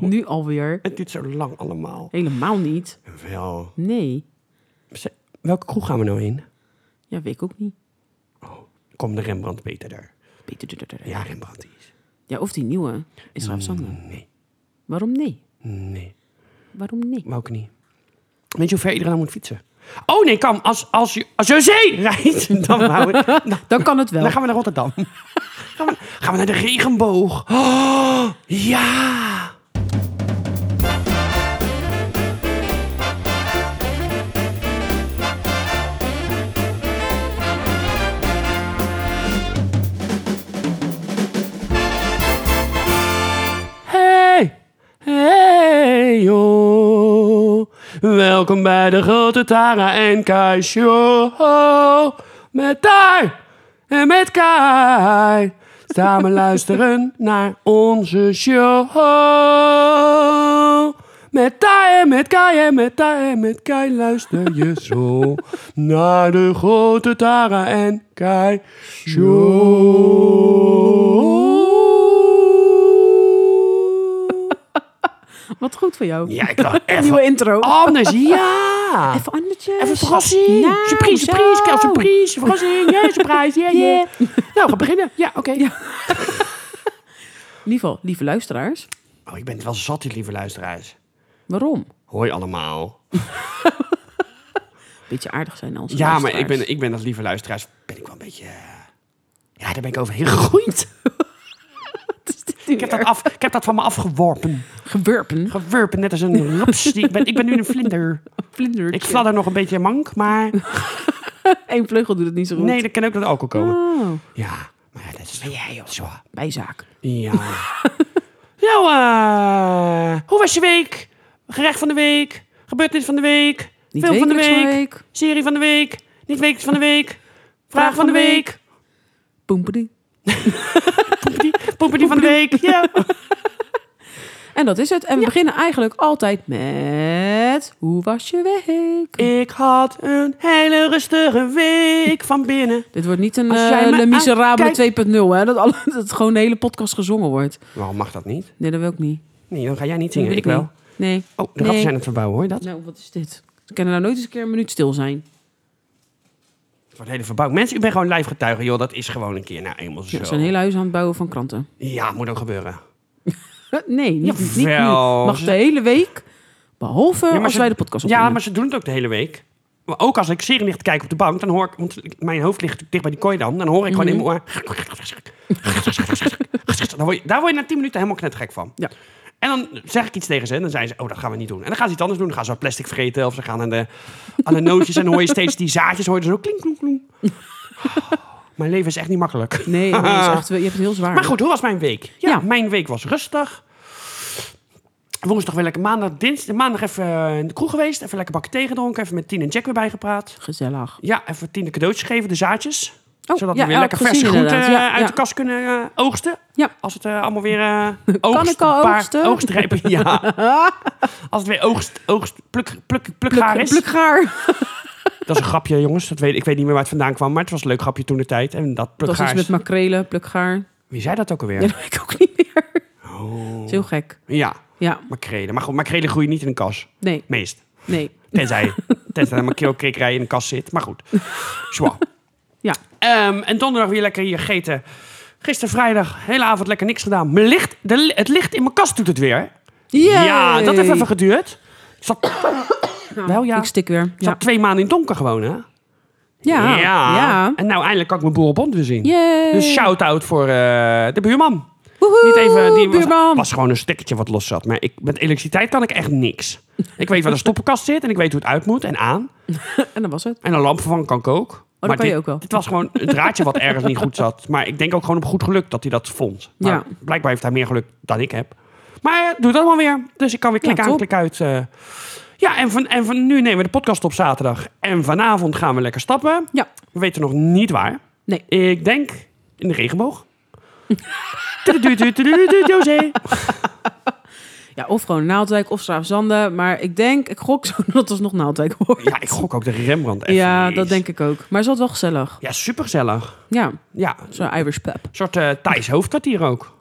nu alweer. Het duurt zo lang allemaal. Helemaal niet. Wel. Nee. Ze- Welke kroeg gaan we nou in? Ja, weet ik ook niet. Kom de Rembrandt beter daar. Beter du- du- du- du- Ja, Rembrandt is. Ja, of die nieuwe is er afstanden. Nee, Waarom nee? nee. Waarom nee? Maar ook niet. Weet je hoe ver iedereen aan moet fietsen? Oh nee, kan. Als, als, je, als je zee rijdt, dan, houden we- dan, Dan kan het wel. dan gaan we naar Rotterdam. gaan, we, gaan we naar de regenboog. Oh, ja. Hey, hey joh. Welkom bij de grote Tara en Kai show. Met Tara en met Kai. Samen luisteren naar onze show. Met Kai en met Kai en met Kai en met Kai luister je zo naar de grote Tara en Kai show. Wat goed voor jou. Ja, ik dacht echt Nieuwe intro. anders. Ja. Even andertjes. Even verrassing. Nou, surprise, zo. surprise. Kijk, surprise. Verrassing. Ja, surprise. Ja, ja. Yeah. Nou, ga beginnen. Ja, oké. Lieve, lieve luisteraars. Oh, ik ben het wel zat, die lieve luisteraars. Waarom? Hoi allemaal. Beetje aardig zijn als Ja, maar ik luisteraars. ben, ik ben als lieve luisteraars ben ik wel een beetje... eh, Ja, daar ben ik overheen gegroeid. Wat is dit nu Ik heb dat, weer? af, ik heb dat van me afgeworpen. Gewerpen. Geworpen, net als een raps. die Ik ben, ik ben nu een vlinder. Vlindertje. Ik fladder nog een beetje mank, maar... Eén vleugel doet het niet zo goed. Nee, dat kan ook door de alcohol komen. Oh, Ja, maar ja, dat is... Ben jij, joh. bijzaak. Ja. nou, eh, hoe was je week? Gerecht van de week, gebeurtenis van de week, Niet film van de wekelijks week, van de week. serie van de week, niet wekelijks van de week, vraag van de week, Poempedie. poeperdie van de week. Ja. En dat is het. En we beginnen eigenlijk altijd met... Hoe was je week? Ik had een hele rustige week van binnen. Dit wordt niet een Als eh jij me Le Miserabele aankijkt- 2.0, hè? Dat, alle, dat gewoon de hele podcast gezongen wordt. Waarom mag dat niet? Nee, dat wil ik niet. Nee, dan ga jij niet Dat zingen. wil Ik wel. niet. Nee. Oh, de Nee. ratten zijn het verbouwen, hoor je dat? Nou, wat is dit? Ze kunnen nou nooit eens een keer een minuut stil zijn. Het wordt hele verbouwd. Mensen, ik ben gewoon live getuige, joh. Dat is gewoon een keer nou eenmaal zo. Ja, ze zijn een hele huis aan het bouwen van kranten. Ja, moet ook gebeuren. Huh? Nee, niet, niet nu. Jawel. Mag de hele week, behalve Ja, maar eh, als ze- wij de podcast opnemen. Ja, maar ze doen het ook de hele week. Maar ook als ik serie ligt te kijken op de bank, dan hoor ik... Want mijn hoofd ligt dicht bij die kooi dan. Dan hoor ik Mhm. gewoon in mijn oor... Dan word je- daar word je na tien minuten helemaal knetgek van. Ja. En dan zeg ik iets tegen ze en dan zijn ze... Oh, dat gaan we niet doen. En dan gaan ze iets anders doen. Dan gaan ze wat plastic vreten of ze gaan aan de, aan de nootjes... en dan hoor je steeds die zaadjes, hoor je zo klink, klonk, klonk. Mijn leven is echt niet makkelijk. Nee, nee is echt, je hebt het heel zwaar. Maar goed, hoe was mijn week? Ja, Ja. mijn week was rustig. Woensdag weer lekker maandag, dinsdag, maandag even eh, in de kroeg geweest. Even lekker bakken thee gedronken. Even met Tien en Jack weer bijgepraat. Gezellig. Ja, even Tien de cadeautjes geven, de zaadjes. Oh, zodat ja, we weer ja, lekker ik heb verse gezien groenten inderdaad. eh, Ja, uit ja. de kast kunnen eh, oogsten. Ja. Als het eh, allemaal weer eh oogst, ik al een paar oogsten? oogstrijpen, ja. Als het weer oogst, oogst, pluk, pluk, plukgaar is. Plukgaar. Dat is een grapje, jongens. Dat weet, ik weet niet meer waar het vandaan kwam, maar het was een leuk grapje toen de tijd. En dat Dat is plukgaar iets met is... makrelen, plukgaar. Wie zei dat ook Ja, Oh. alweer? dat weet ik ook niet meer. Dat is heel gek. ja. Ja, Makrelen. Maar goed, makrelen groeien niet in een kas. nee, Meest. nee. Tenzij, tenzij er makreelkrekerij in een kas zit. Maar goed. Zwaar. Ja, Ehm, en donderdag weer lekker hier gegeten. Gisteren vrijdag, hele avond lekker niks gedaan. Mijn licht, de, li- het licht in mijn kast doet het weer. Yay! Ja, dat heeft even geduurd. Ik zat, ik Nou, Wel, ja. Ik stik weer. zat Ja. twee maanden in het donker gewoon, hè? Ja. ja. En nou, eindelijk kan ik mijn boerenbond weer zien. Yay. Dus shout-out voor eh, de buurman. Woehoe, Niet even, die was, buurman. was gewoon een stekkertje wat los zat. Maar ik, met elektriciteit kan ik echt niks. Ik weet waar de stoppenkast zit en ik weet hoe het uit moet en aan. En dat was het. En een lamp vervangen kan ik ook. dat maar Oh, kan je dit, ook wel. Dit was gewoon een draadje wat ergens niet goed zat. Maar ik denk ook gewoon op goed geluk dat hij dat vond. Maar Ja. Blijkbaar heeft hij meer geluk dan ik heb. Maar eh, doe dat allemaal weer. Dus ik kan weer klik Ja, aan, top. klik uit. eh. Ja, en van, en van nu nemen we de podcast op zaterdag. En vanavond gaan we lekker stappen. Ja, We weten nog niet waar. nee. Ik denk in de regenboog. Tududududududu, José. Ja, of gewoon Naaldwijk of Zanden. Maar ik denk, ik gok zo dat het nog Naaldwijk hoort. Ja, ik gok ook de Rembrandt. even. Ja, dat denk ik ook. Maar het is altijd wel gezellig. Ja, supergezellig. Ja, Ja, een zo'n Irish pub. soort eh Thijs hoofdkwartier ook.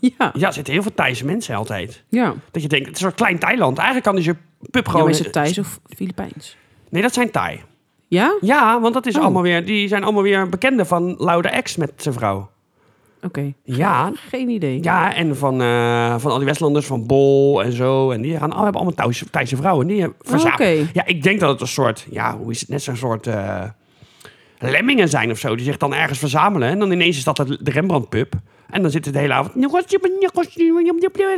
Ja, Ja, er zitten heel veel Thaise mensen altijd. ja. Dat je denkt, het is een soort klein Thailand. Eigenlijk kan dus je pub ja gewoon... maar is het Thais of Filipijns? Nee, dat zijn Thai. Ja? Ja, want dat is Oh. allemaal weer, die zijn allemaal weer bekenden van Laude X met zijn vrouw. Oké. Ja, Geen idee. ja en van, eh, van al die Westlanders, van Bol en zo. En die gaan, oh, hebben allemaal Thaise, Thaise vrouwen. Die hebben verzameld. Oké. Ja, ik denk dat het een soort, ja, hoe is het, net zo'n soort eh, lemmingen zijn of zo. Die zich dan ergens verzamelen. En dan ineens is dat het- de Rembrandt-pub. En dan zit het de hele avond... En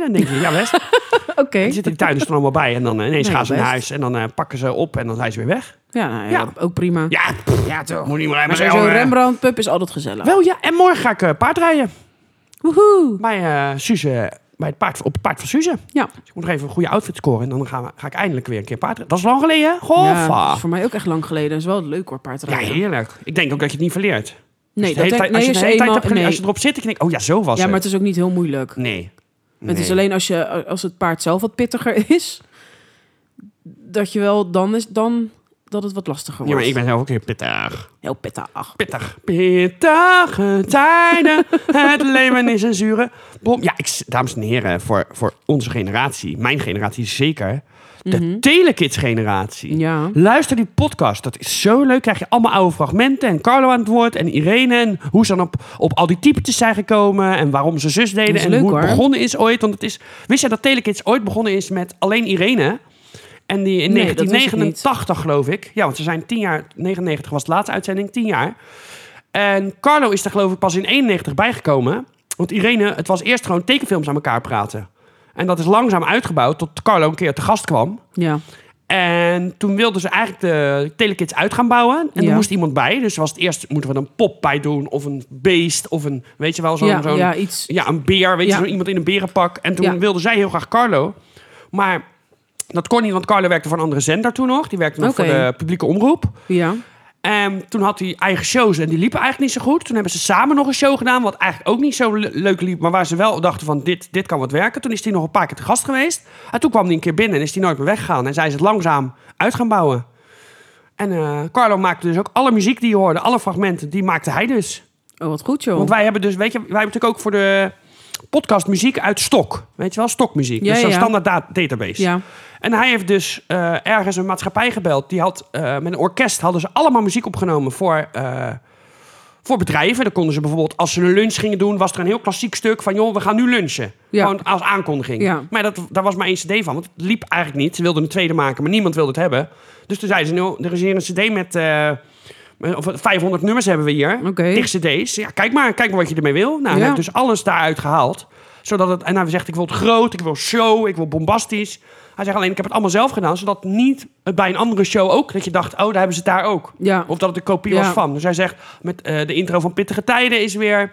dan denk je, ja best. Oké. En zitten die tuinders er allemaal bij. En dan eh, ineens Nee, gaan ze naar best. huis en dan eh, pakken ze op en dan zijn ze weer weg. Ja, nou ja, ook prima. Ja, ja toch. Moet niet meer maar eh, hebben zo'n Rembrandt-pub is altijd gezellig. eh. Wel ja, en morgen ga ik eh, paardrijden. Woehoe. Bij, eh, Suze, bij het paard, op het paard van Suze. Ja. Dus ik moet nog even een goede outfit scoren. En dan gaan we, ga ik eindelijk weer een keer paardrijden. Dat is lang geleden, hè? Goh, Ja, va. dat is voor mij ook echt lang geleden. Dat is wel leuk hoor, ja, paardrijden. heerlijk. Ik denk ook dat je het niet verleert. nee, Als je de dat hele tijd- heb, als nee, je is de hele tijd eenmaal- hebt gele- nee. als je erop zit, dan denk ik, oh ja, zo was Ja, maar het. het is ook niet heel moeilijk. Nee. Het is Nee. alleen als, je, als het paard zelf wat pittiger is, dat je wel dan is, dan dat het wat lastiger Ja, wordt. maar ik ben zelf ook heel pittig. Heel pittig. Pittig. Pittige tijden. Het leven is een zure bom. Ja, ik, dames en heren, voor, voor onze generatie, mijn generatie zeker, de telekids-generatie. Ja. Luister die podcast, dat is zo leuk. Krijg je allemaal oude fragmenten en Carlo aan het woord en Irene en hoe ze dan op, op al die typetjes zijn gekomen en waarom ze zus deden Dat is en leuk, hoe het hoor. begonnen is ooit. Want het is, wist jij dat telekids ooit begonnen is met alleen Irene? En die in Nee, dat wist ik niet. 1989 geloof ik. Ja, want ze zijn 10 jaar, 99 was de laatste uitzending, 10 jaar. En Carlo is er geloof ik pas in 91 bijgekomen. Want Irene, het was eerst gewoon tekenfilms aan elkaar praten. En dat is langzaam uitgebouwd tot Carlo een keer te gast kwam. Ja. En toen wilden ze eigenlijk de telekids uit gaan bouwen. En Ja. er moest iemand bij. Dus was het eerst, moeten we er een pop bij doen? Of een beest? Of een, weet je wel, zo'n... ja, zo'n- ja, iets. ja, een beer, weet Ja. je, zo iemand in een berenpak. En toen Ja. wilde zij heel graag Carlo. Maar dat kon niet, want Carlo werkte voor een andere zender toen nog. Die werkte nog Oké. voor de publieke omroep. Ja. En Ehm, toen had hij eigen shows en die liepen eigenlijk niet zo goed. Toen hebben ze samen nog een show gedaan, wat eigenlijk ook niet zo le- leuk liep. Maar waar ze wel dachten van, dit, dit kan wat werken. Toen is hij nog een paar keer te gast geweest. En toen kwam hij een keer binnen en is hij nooit meer weggegaan. En zijn ze het langzaam uit gaan bouwen. En eh, Carlo maakte dus ook alle muziek die je hoorde, alle fragmenten, die maakte hij dus. Oh, wat goed joh. Want wij hebben dus, weet je, wij hebben natuurlijk ook voor de podcast muziek uit stok. Weet je wel, stokmuziek. Ja, dus zo'n ja, ja. standaard da- database. Ja. En hij heeft dus eh, ergens een maatschappij gebeld. Die had eh, met een orkest hadden ze allemaal muziek opgenomen voor, eh, voor bedrijven. Dan konden ze bijvoorbeeld, als ze een lunch gingen doen, was er een heel klassiek stuk van: joh, we gaan nu lunchen. Ja. Gewoon als aankondiging. Ja. Maar dat, daar was maar één CD van, want het liep eigenlijk niet. Ze wilden een tweede maken, maar niemand wilde het hebben. Dus toen zeiden ze: "Nou, er is hier een CD met. eh, of 500 nummers hebben we hier. Oké. Tig CD's. Ja, kijk maar, kijk maar wat je ermee wil. Nou, hij Ja. heeft dus alles daaruit gehaald. Zodat het, en hij zegt, ik wil het groot, ik wil show, ik wil bombastisch. Hij zegt alleen, ik heb het allemaal zelf gedaan. Zodat niet het bij een andere show ook, dat je dacht, oh, daar hebben ze het daar ook. Ja. Of dat het een kopie Ja. was van. Dus hij zegt, met eh, de intro van Pittige Tijden is weer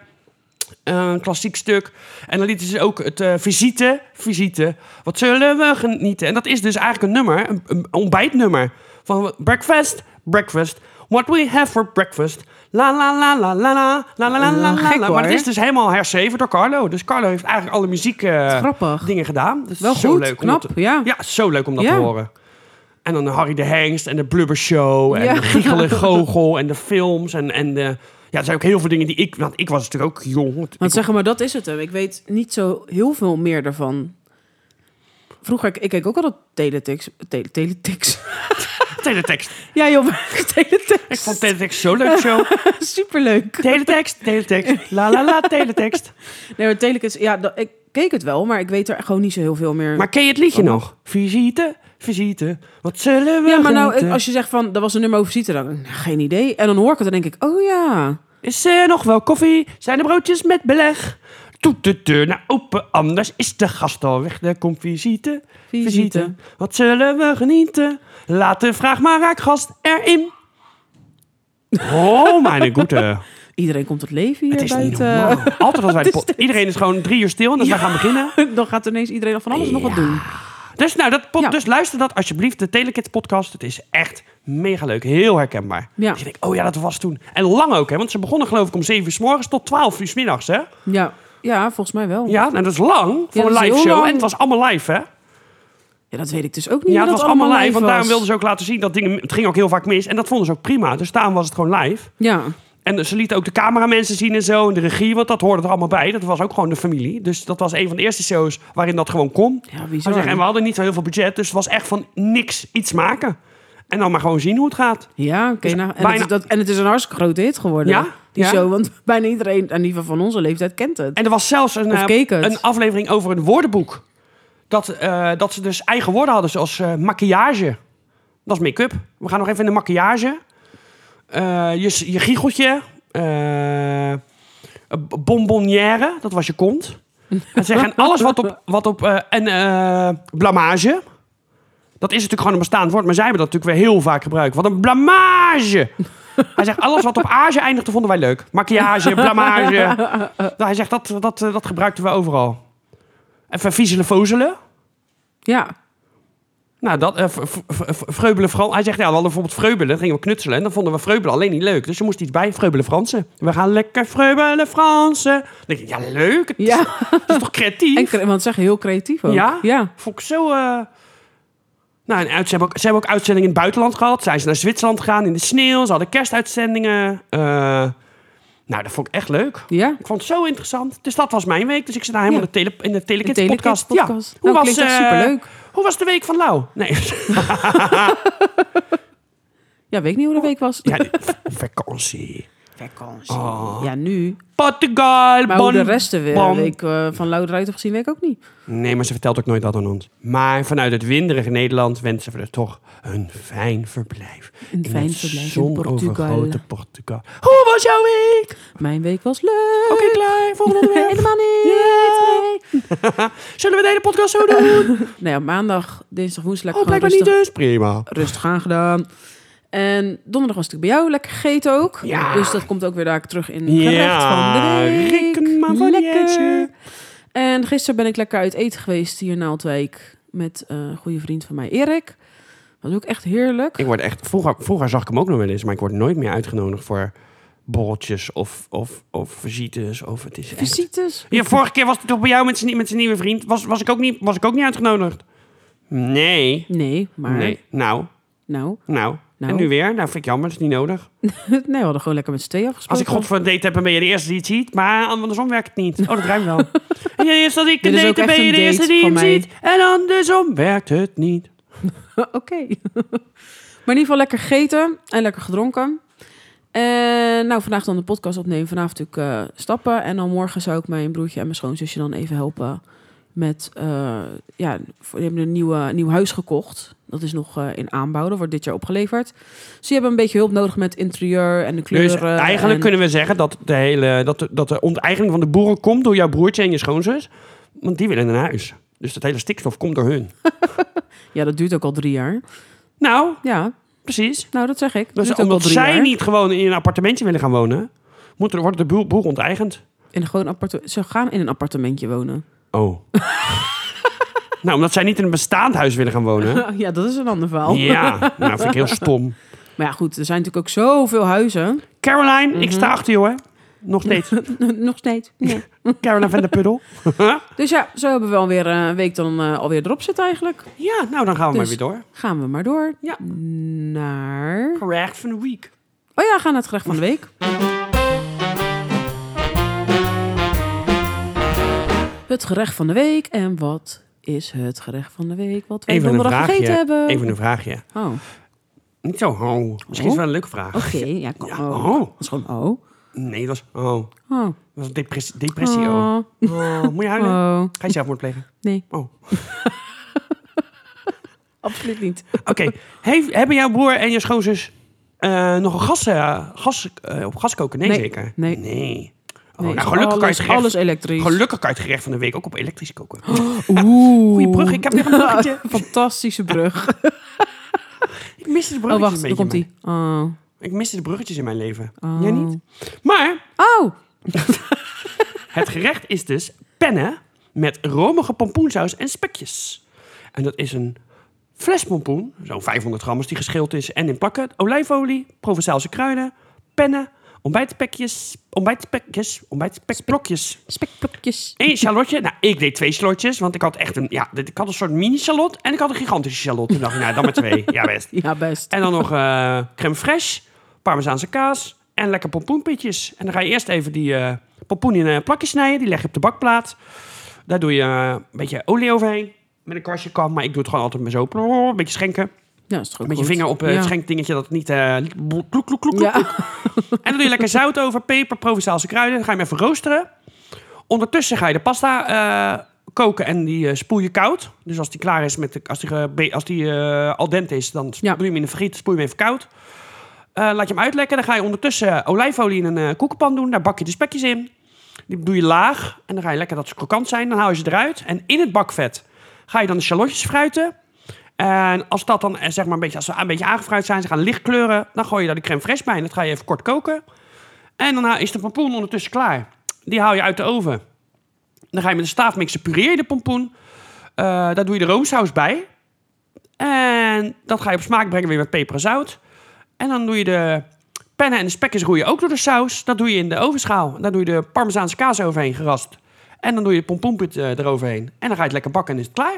eh, een klassiek stuk. En dan lieten ze ook het eh, visite, visite, wat zullen we genieten. En dat is dus eigenlijk een nummer, een, een ontbijtnummer. Van breakfast, breakfast, what we have for breakfast. La la la la la la la la la la Eh, gek la. hoor. Maar het is dus helemaal herschreven door Carlo. Dus Carlo heeft eigenlijk alle muziek eh, Grappig. dingen gedaan. Dat is Wel zo goed, leuk om knap, dat te- ja. Ja, zo leuk om dat Ja. te horen. En dan de Harry de Hengst en de Blubber Show en Ja. de Giegelen Gogel en de films en, en de... Ja, er zijn ook heel veel dingen die ik... Want ik was natuurlijk ook jong. want Want ik- zeg maar, dat is het hem. Ik weet niet zo heel veel meer ervan. Vroeger, ik keek ook altijd Teletix. Tele, teletix. Teletext. Ja joh, Ik Teletext. vond Teletext zo'n leuk show. Superleuk. teletext, Teletext. La la la, Teletext. Nee, maar Teletext, ja, dat, ik keek het wel, maar ik weet er gewoon niet zo heel veel meer. Maar ken je het liedje nog? Visite, visite. Wat zullen we ja, maar nou, genieten? als je zegt van, dat was een nummer over visite, dan nou, geen idee. En dan hoor ik het en denk ik, oh ja. Is er nog wel koffie? Zijn er broodjes met beleg? Doet de deur nou open, anders is de gast al weg. Er komt visite, visite. Visite. Wat zullen we genieten? Laat de vraag maar raak gast erin. Oh, mijn goede. Iedereen komt tot leven hier Het is niet buiten. normaal. Altijd als wij... de Wat is po- Iedereen is gewoon drie uur stil, dus wij gaan beginnen. dan gaat ineens iedereen al van alles nog wat Ja. doen. Dus, nou, dat pod- Ja. dus luister dat alsjeblieft, de Telekids podcast. Het is echt mega leuk, heel herkenbaar. Ja. Dus je denkt, oh ja, dat was toen. En lang ook, hè, want ze begonnen geloof ik om 7 uur s morgens tot 12 uur s middags, hè? Ja, ja volgens mij wel. Ja. Ja, nou, dat is lang voor dat is een live heel show. lang. En het was allemaal live, hè? dat weet ik dus ook niet. hoe Ja, het dat was allemaal live, was. want daarom wilden ze ook laten zien dat dingen... Het ging ook heel vaak mis en dat vonden ze ook prima. Dus daarom was het gewoon live. Ja, En ze lieten ook de cameramensen zien en zo. En de regie, want dat hoorde er allemaal bij. Dat was ook gewoon de familie. Dus dat was een van de eerste shows waarin dat gewoon kon. Ja, Ik zou bizar. zeggen, en we hadden niet zo heel veel budget. Dus het was echt van niks iets maken. En dan maar gewoon zien hoe het gaat. Ja, oké. nou, en, Dus bijna- het is dat, en het is een hartstikke grote hit geworden. Ja? Die Ja? show, want bijna iedereen, in ieder geval van onze leeftijd, kent het. En er was zelfs een, Of eh, keek het. een aflevering over een woordenboek. Dat, eh, dat ze dus eigen woorden hadden, zoals eh, maquillage. Dat is make-up. We gaan nog even in de maquillage. Eh, je, s- je giecheltje. eh, eh, bonbonnière, dat was je kont. En, zeg, en alles wat op... Wat op eh, en eh, blamage. Dat is natuurlijk gewoon een bestaand woord, maar zij hebben dat natuurlijk weer heel vaak gebruikt. Wat een blamage! Hij zegt, alles wat op age eindigde vonden wij leuk. Maquillage, blamage. Nou, hij zegt, dat, dat, eh, dat gebruikten we overal. En verviezelen, vozelen. Ja. Nou, dat, eh, v- v- v- vreubelen, Fran- Hij zegt, ja, we hadden bijvoorbeeld vreubelen. Dan gingen we knutselen. En dan vonden we vreubelen alleen niet leuk. Dus er moest iets bij, vreubelen Fransen. We gaan lekker vreubelen Fransen. Dan denk ik, ja, leuk. Het is, Ja. het is toch creatief? En, cre- want het is echt heel creatief ook. Ja? Ja. Vond ik zo... eh, Nou, en uit, ze, hebben ook, ze hebben ook uitzendingen in het buitenland gehad. Zijn ze naar Zwitserland gegaan in de sneeuw. Ze hadden kerstuitzendingen. Eh, nou, dat vond ik echt leuk. Ja. Ik vond het zo interessant. Dus dat was mijn week. Dus ik zit daar helemaal Ja. in de, tele, in de Telekids De podcast. Ja. Telekids-podcast. Nou, klinkt echt eh, superleuk. Hoe was de week van Lau? Nee, Ja, weet ik niet hoe de week was. ja, v- vakantie. Vakantie. Ja, nu. Portugal, Maar bon, hoe de rest de we- bon. week eh, van Lau eruit heb gezien, weet ik ook niet. Nee, maar ze vertelt ook nooit dat aan ons. Maar vanuit het winderige Nederland wensen we er toch een fijn verblijf. Een In fijn het verblijf in zonovergoten Portugal. Portugal. Hoe was jouw week? Mijn week was leuk. Oké, klaar. Volgende onderwerp. Eh. Helemaal niet. Nee. Zullen we de hele podcast zo doen? Nee, op maandag, dinsdag, woensdag Oh, lekker blijkbaar gewoon niet rustig, dus. Prima. rustig aangedaan. En donderdag was ik bij jou lekker gegeten ook. Ja. Dus dat komt ook weer daar terug in Ja, gerecht van de week. reken maar van lekker. jeetje. En gisteren ben ik lekker uit eten geweest hier in Naaldwijk met eh, een goede vriend van mij, Erik. Dat was ook echt heerlijk. Ik word echt, vroeger, vroeger zag ik hem ook nog wel eens, maar ik word nooit meer uitgenodigd voor borreltjes of, of, of visites. Of het is echt- Visites. Ja, vorige keer was het toch bij jou met zijn, met zijn nieuwe vriend? Was, was, ik ook niet, was ik ook niet uitgenodigd? Nee. Nee, maar Nee. Nou, nou. nou. Nou. En nu weer? Nou, vind ik jammer, dat is niet nodig. nee, we hadden gewoon lekker met z'n tweeën Als afgesproken. ik God voor een date heb, dan ben je de eerste die het ziet. Maar andersom werkt het niet. Oh, dat ruimt wel. en jij eerst dat ik een Dit is date ook heb, echt ben je een de eerste date die van hem mij. ziet. En andersom werkt het niet. Ah, Oké. maar in ieder geval lekker gegeten en lekker gedronken. En nou, vandaag dan de podcast opnemen. Vanavond natuurlijk eh, stappen. En dan morgen zou ik mijn broertje en mijn schoonzusje dan even helpen. Met, eh, ja, voor- die hebben een nieuwe, nieuw huis gekocht. Dat is nog eh, in aanbouw. Dat wordt dit jaar opgeleverd. Dus die hebben een beetje hulp nodig met interieur en de kleuren. Dus eigenlijk en- kunnen we zeggen dat de, hele, dat, de, dat de onteigening van de boeren komt door jouw broertje en je schoonzus. Want die willen een huis. Dus dat hele stikstof komt door hun. Ja, dat duurt ook al drie jaar. Nou, Ja, precies. nou dat zeg ik. Dat Dus duurt ook al omdat drie zij jaar. niet gewoon in een appartementje willen gaan wonen, moeten, wordt de boer, boer onteigend. In gewoon appartement. Ze gaan in een appartementje wonen. Oh. nou, omdat zij niet in een bestaand huis willen gaan wonen. Ja, dat is een ander verhaal. Ja, nou vind ik heel stom. Maar ja, goed, er zijn natuurlijk ook zoveel huizen. Caroline, ik Mhm. sta achter jou, hè. Nog steeds. Nog steeds. Caroline van der Puddel. Dus ja, zo hebben we alweer eh, een week dan eh, alweer erop zitten eigenlijk. ja, nou dan gaan we maar Dus- weer door. Gaan we maar door Ja. naar... Correct van de week. Oh ja, we gaan naar het gerecht van de week. Het gerecht van de week. En wat is het gerecht van de week wat we Even een donderdag gegeten vraagje. hebben? Even een vraagje. Oh, oké. Niet zo ho. Misschien is het wel een leuke vraag. Ja, kom. Ja, oh. oh. Dat is gewoon oh. Nee, dat was... Oh, Oh. dat was depressie, depressie oh. Oh. Oh, Moet je huilen? oh. Ga je zelfmoord plegen? Nee, Oh. absoluut niet. Oké. Heeft- Hebben jouw broer en je schoonzus eh, nog een gas, eh, gas eh, op gas koken? Nee, Nee. zeker? Nee. Nee. Oh, Nee, nou, gelukkig, kan je alles, het gerecht, alles Oh. elektrisch. gelukkig kan je het gerecht van de week ook op elektrisch koken. Oeh. Goeie brug, ik heb weer een bruggetje. Fantastische brug. Ik miste Oh, de bruggetjes wacht, een daar beetje. komt ie. Oh. Ik miste de bruggetjes in mijn leven. Oh. Jij niet? Maar Oh, Het gerecht is dus pennen met romige pompoensaus en spekjes. En dat is een fles pompoen, zo'n 500 gram als die geschild is, en in plakken olijfolie, Provençaalse kruiden, pennen, ontbijtspekjes, ontbijtspekjes, ontbijtspekblokjes. spekplokjes. Eén shallotje. Nou, ik deed twee shallotjes, want ik had echt een, ja, dit- ik had een soort mini-shallot en ik had een gigantische shallot. Toen dacht ik, nou, dan maar twee. Ja, best. Ja, best. En dan nog eh crème fraîche, parmezaanse kaas En lekker pompoenpitjes. En dan ga je eerst even die eh pompoen in een plakje snijden. Die leg je op de bakplaat. Daar doe je eh, een beetje olie overheen. Met een kwastje kan, maar ik doe het gewoon altijd met zo. Een beetje schenken. Ja, is toch ook Met je goed. vinger op eh, het Ja. schenkdingetje dat het niet... eh, kloek, kloek, kloek, kloek, Ja. en dan doe je lekker zout over, peper, Provençaalse kruiden. Dan ga je hem even roosteren. Ondertussen ga je de pasta eh, koken en die eh, spoel je koud. Dus als die klaar is, met de, als die, gebe- als die eh, al dente is, dan Ja. doe je hem in de friet, spoel je hem even koud. Eh, laat je hem uitlekken. Dan ga je ondertussen olijfolie in een eh, koekenpan doen. Daar bak je de spekjes in. Die doe je laag. En dan ga je lekker dat ze krokant zijn. Dan haal je ze eruit. En in het bakvet ga je dan de shallotjes fruiten. En als dat dan eh, zeg maar een beetje, als ze een beetje aangefruit zijn, ze gaan licht kleuren, dan gooi je daar de crème fraîche bij. En dat ga je even kort koken. En dan ha- is de pompoen ondertussen klaar. Die haal je uit de oven. Dan ga je met een staafmixer pureer je de pompoen. Eh, daar doe je de roomsaus bij. En dat ga je op smaak brengen weer met peper en zout. En dan doe je de pennen en de spekjes roeien ook door de saus. Dat doe je in de ovenschaal. En Daar doe je de parmezaanse kaas overheen gerast. En dan doe je de pompoenpit eh, eroverheen. En dan ga je het lekker bakken en is het klaar.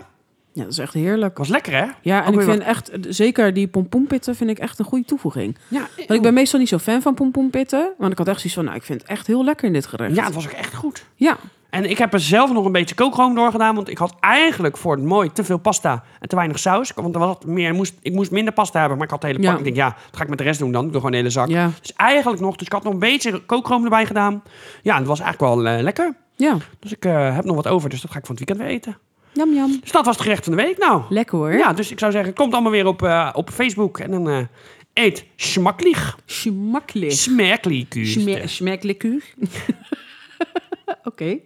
ja, dat is echt heerlijk. Was lekker, hè? Ja, Ook en ik weer vind echt, zeker die pompoenpitten vind ik echt een goede toevoeging. Ja, Want ik ben meestal niet zo fan van pompoenpitten. Want ik had echt zoiets van, nou, ik vind het echt heel lekker in dit gerecht. ja, het was ook echt goed. Ja, En ik heb er zelf nog een beetje kookroom door gedaan. Want ik had eigenlijk voor het mooi te veel pasta en te weinig saus. Want er was wat meer, ik moest, ik moest minder pasta hebben. Maar ik had de hele pak. Ja. Ik denk, ja, dat ga ik met de rest doen dan. Ik doe gewoon de hele zak. ja, Dus eigenlijk nog. Dus ik had nog een beetje kookroom erbij gedaan. Ja, en het was eigenlijk wel eh, lekker. ja. Dus ik eh, heb nog wat over. Dus dat ga ik van het weekend weer eten. Jam, jam. Dus dat was het gerecht van de week. Nou, Lekker hoor. ja, dus ik zou zeggen, komt allemaal weer op, eh, op Facebook. En dan eh, eet smaklieg. Schmacklich. Smerklieg. Schme- Schmecklich. Oké.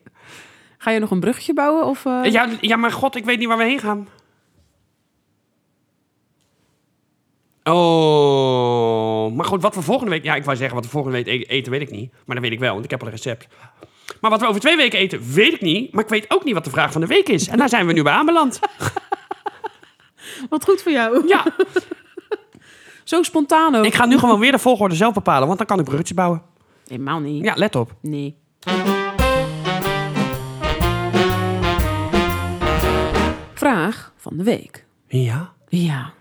Ga je nog een brugje bouwen? Of, eh? Ja, ja, maar god, ik weet niet waar we heen gaan. Oh, maar goed, wat we volgende week... Ja, ik wou zeggen, wat we volgende week e- eten, weet ik niet. Maar dat weet ik wel, want ik heb al een recept. Maar wat we over twee weken eten, weet ik niet. Maar ik weet ook niet wat de vraag van de week is. En daar zijn we nu bij aanbeland. Wat goed voor jou. Ja, Zo spontaan ook. ik ga nu gewoon weer de volgorde zelf bepalen, want dan kan ik bruggetjes bouwen. Helemaal niet. Ja, let op. Nee. Vraag van de week. Ja. Ja.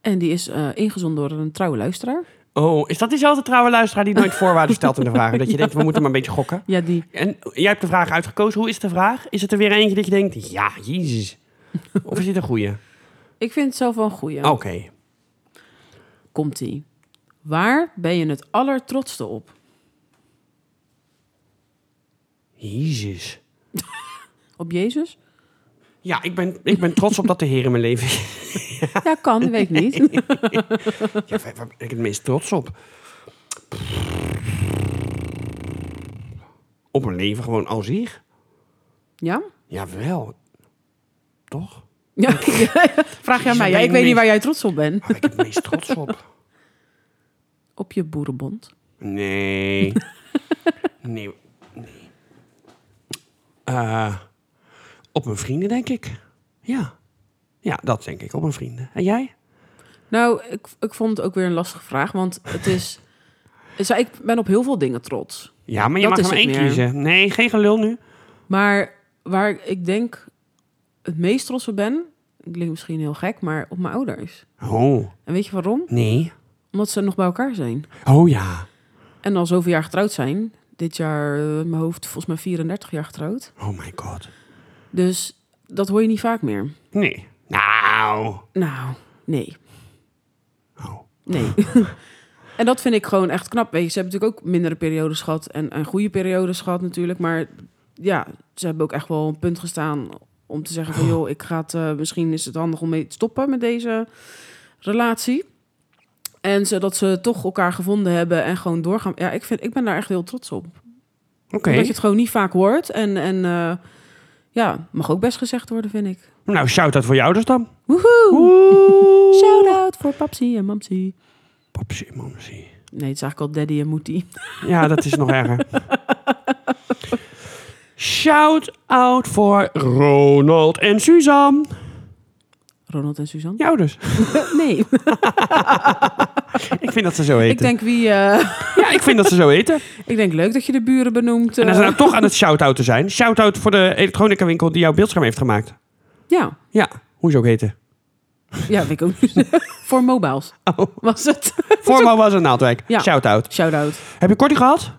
En die is eh, ingezonden door een trouwe luisteraar. Oh, is dat diezelfde trouwe luisteraar die nooit voorwaarden stelt in de vragen? Dat je denkt, we moeten maar een beetje gokken. Ja, die. En jij hebt de vraag uitgekozen. Hoe is de vraag? Is het er weer eentje dat je denkt, ja, jezus. Of is dit een goeie? Ik vind het zelf wel een goeie. Oké. Komt-ie. Waar ben je het allertrotste op? Jezus. Op Jezus? Ja, ik ben, ik ben trots op dat de Heer in mijn leven is. Ja, kan, dat weet ik niet. Ja, waar waar ben ik het meest trots op? Op mijn leven gewoon al zich? Ja? Jawel. Toch? Ja, vraag je aan mij. Ja, ik weet niet waar jij trots op bent. Waar ben ik het meest trots op? Op je boerenbond. Nee. Nee. nee. Eh, op mijn vrienden, denk ik. Ja. Ja, dat denk ik. Op mijn vrienden. En jij? Nou, ik, ik vond het ook weer een lastige vraag, want het is... Zo, Ik ben op heel veel dingen trots. Ja, maar je Dat mag is er maar het één meer. kiezen. Nee, geen gelul nu. Maar waar ik denk het meest trots op ben... Ik klink misschien heel gek, maar op mijn ouders. Oh, En weet je waarom? nee. Omdat ze nog bij elkaar zijn. Oh ja. En al zoveel jaar getrouwd zijn. Dit jaar, eh, mijn hoofd, volgens mij 34 jaar getrouwd. Oh my god. Dus dat hoor je niet vaak meer. Nee. Nou. Nou, nee. Oh. Nee. en dat vind ik gewoon echt knap. Weet je, ze hebben natuurlijk ook mindere periodes gehad en, en goede periodes gehad natuurlijk. Maar ja, ze hebben ook echt wel een punt gestaan om te zeggen van... joh, ik ga het, eh, misschien is het handig om mee te stoppen met deze relatie. En ze, dat ze toch elkaar gevonden hebben en gewoon doorgaan. Ja, ik, vind, ik ben daar echt heel trots op. Oké. Omdat je het gewoon niet vaak hoort. En, en eh, ja, mag ook best gezegd worden, vind ik. Nou, shout-out voor je ouders dan. Woehoe! Oeh. Shout-out voor papsie en mamsie. Papsie, mamsie. Nee, het is eigenlijk al daddy en moetie. Ja, dat is nog erger. Shout-out voor Ronald en Suzanne. Ronald en Suzanne? Je ouders. Nee, Ik vind dat ze zo eten. ik denk wie... eh, Ja, ik vind dat ze zo eten. ik denk leuk dat je de buren benoemt. En eh. als ze nou toch aan het shout-outen zijn. Shout-out voor de elektronica winkel die jouw beeldscherm heeft gemaakt. ja, Ja, hoe ze ook heten. Ja, weet ik ook niet. Voor mobiles Oh. was het. Formo was een naaldwijk. Ja. Shout-out. Shout-out. Heb je korting gehad?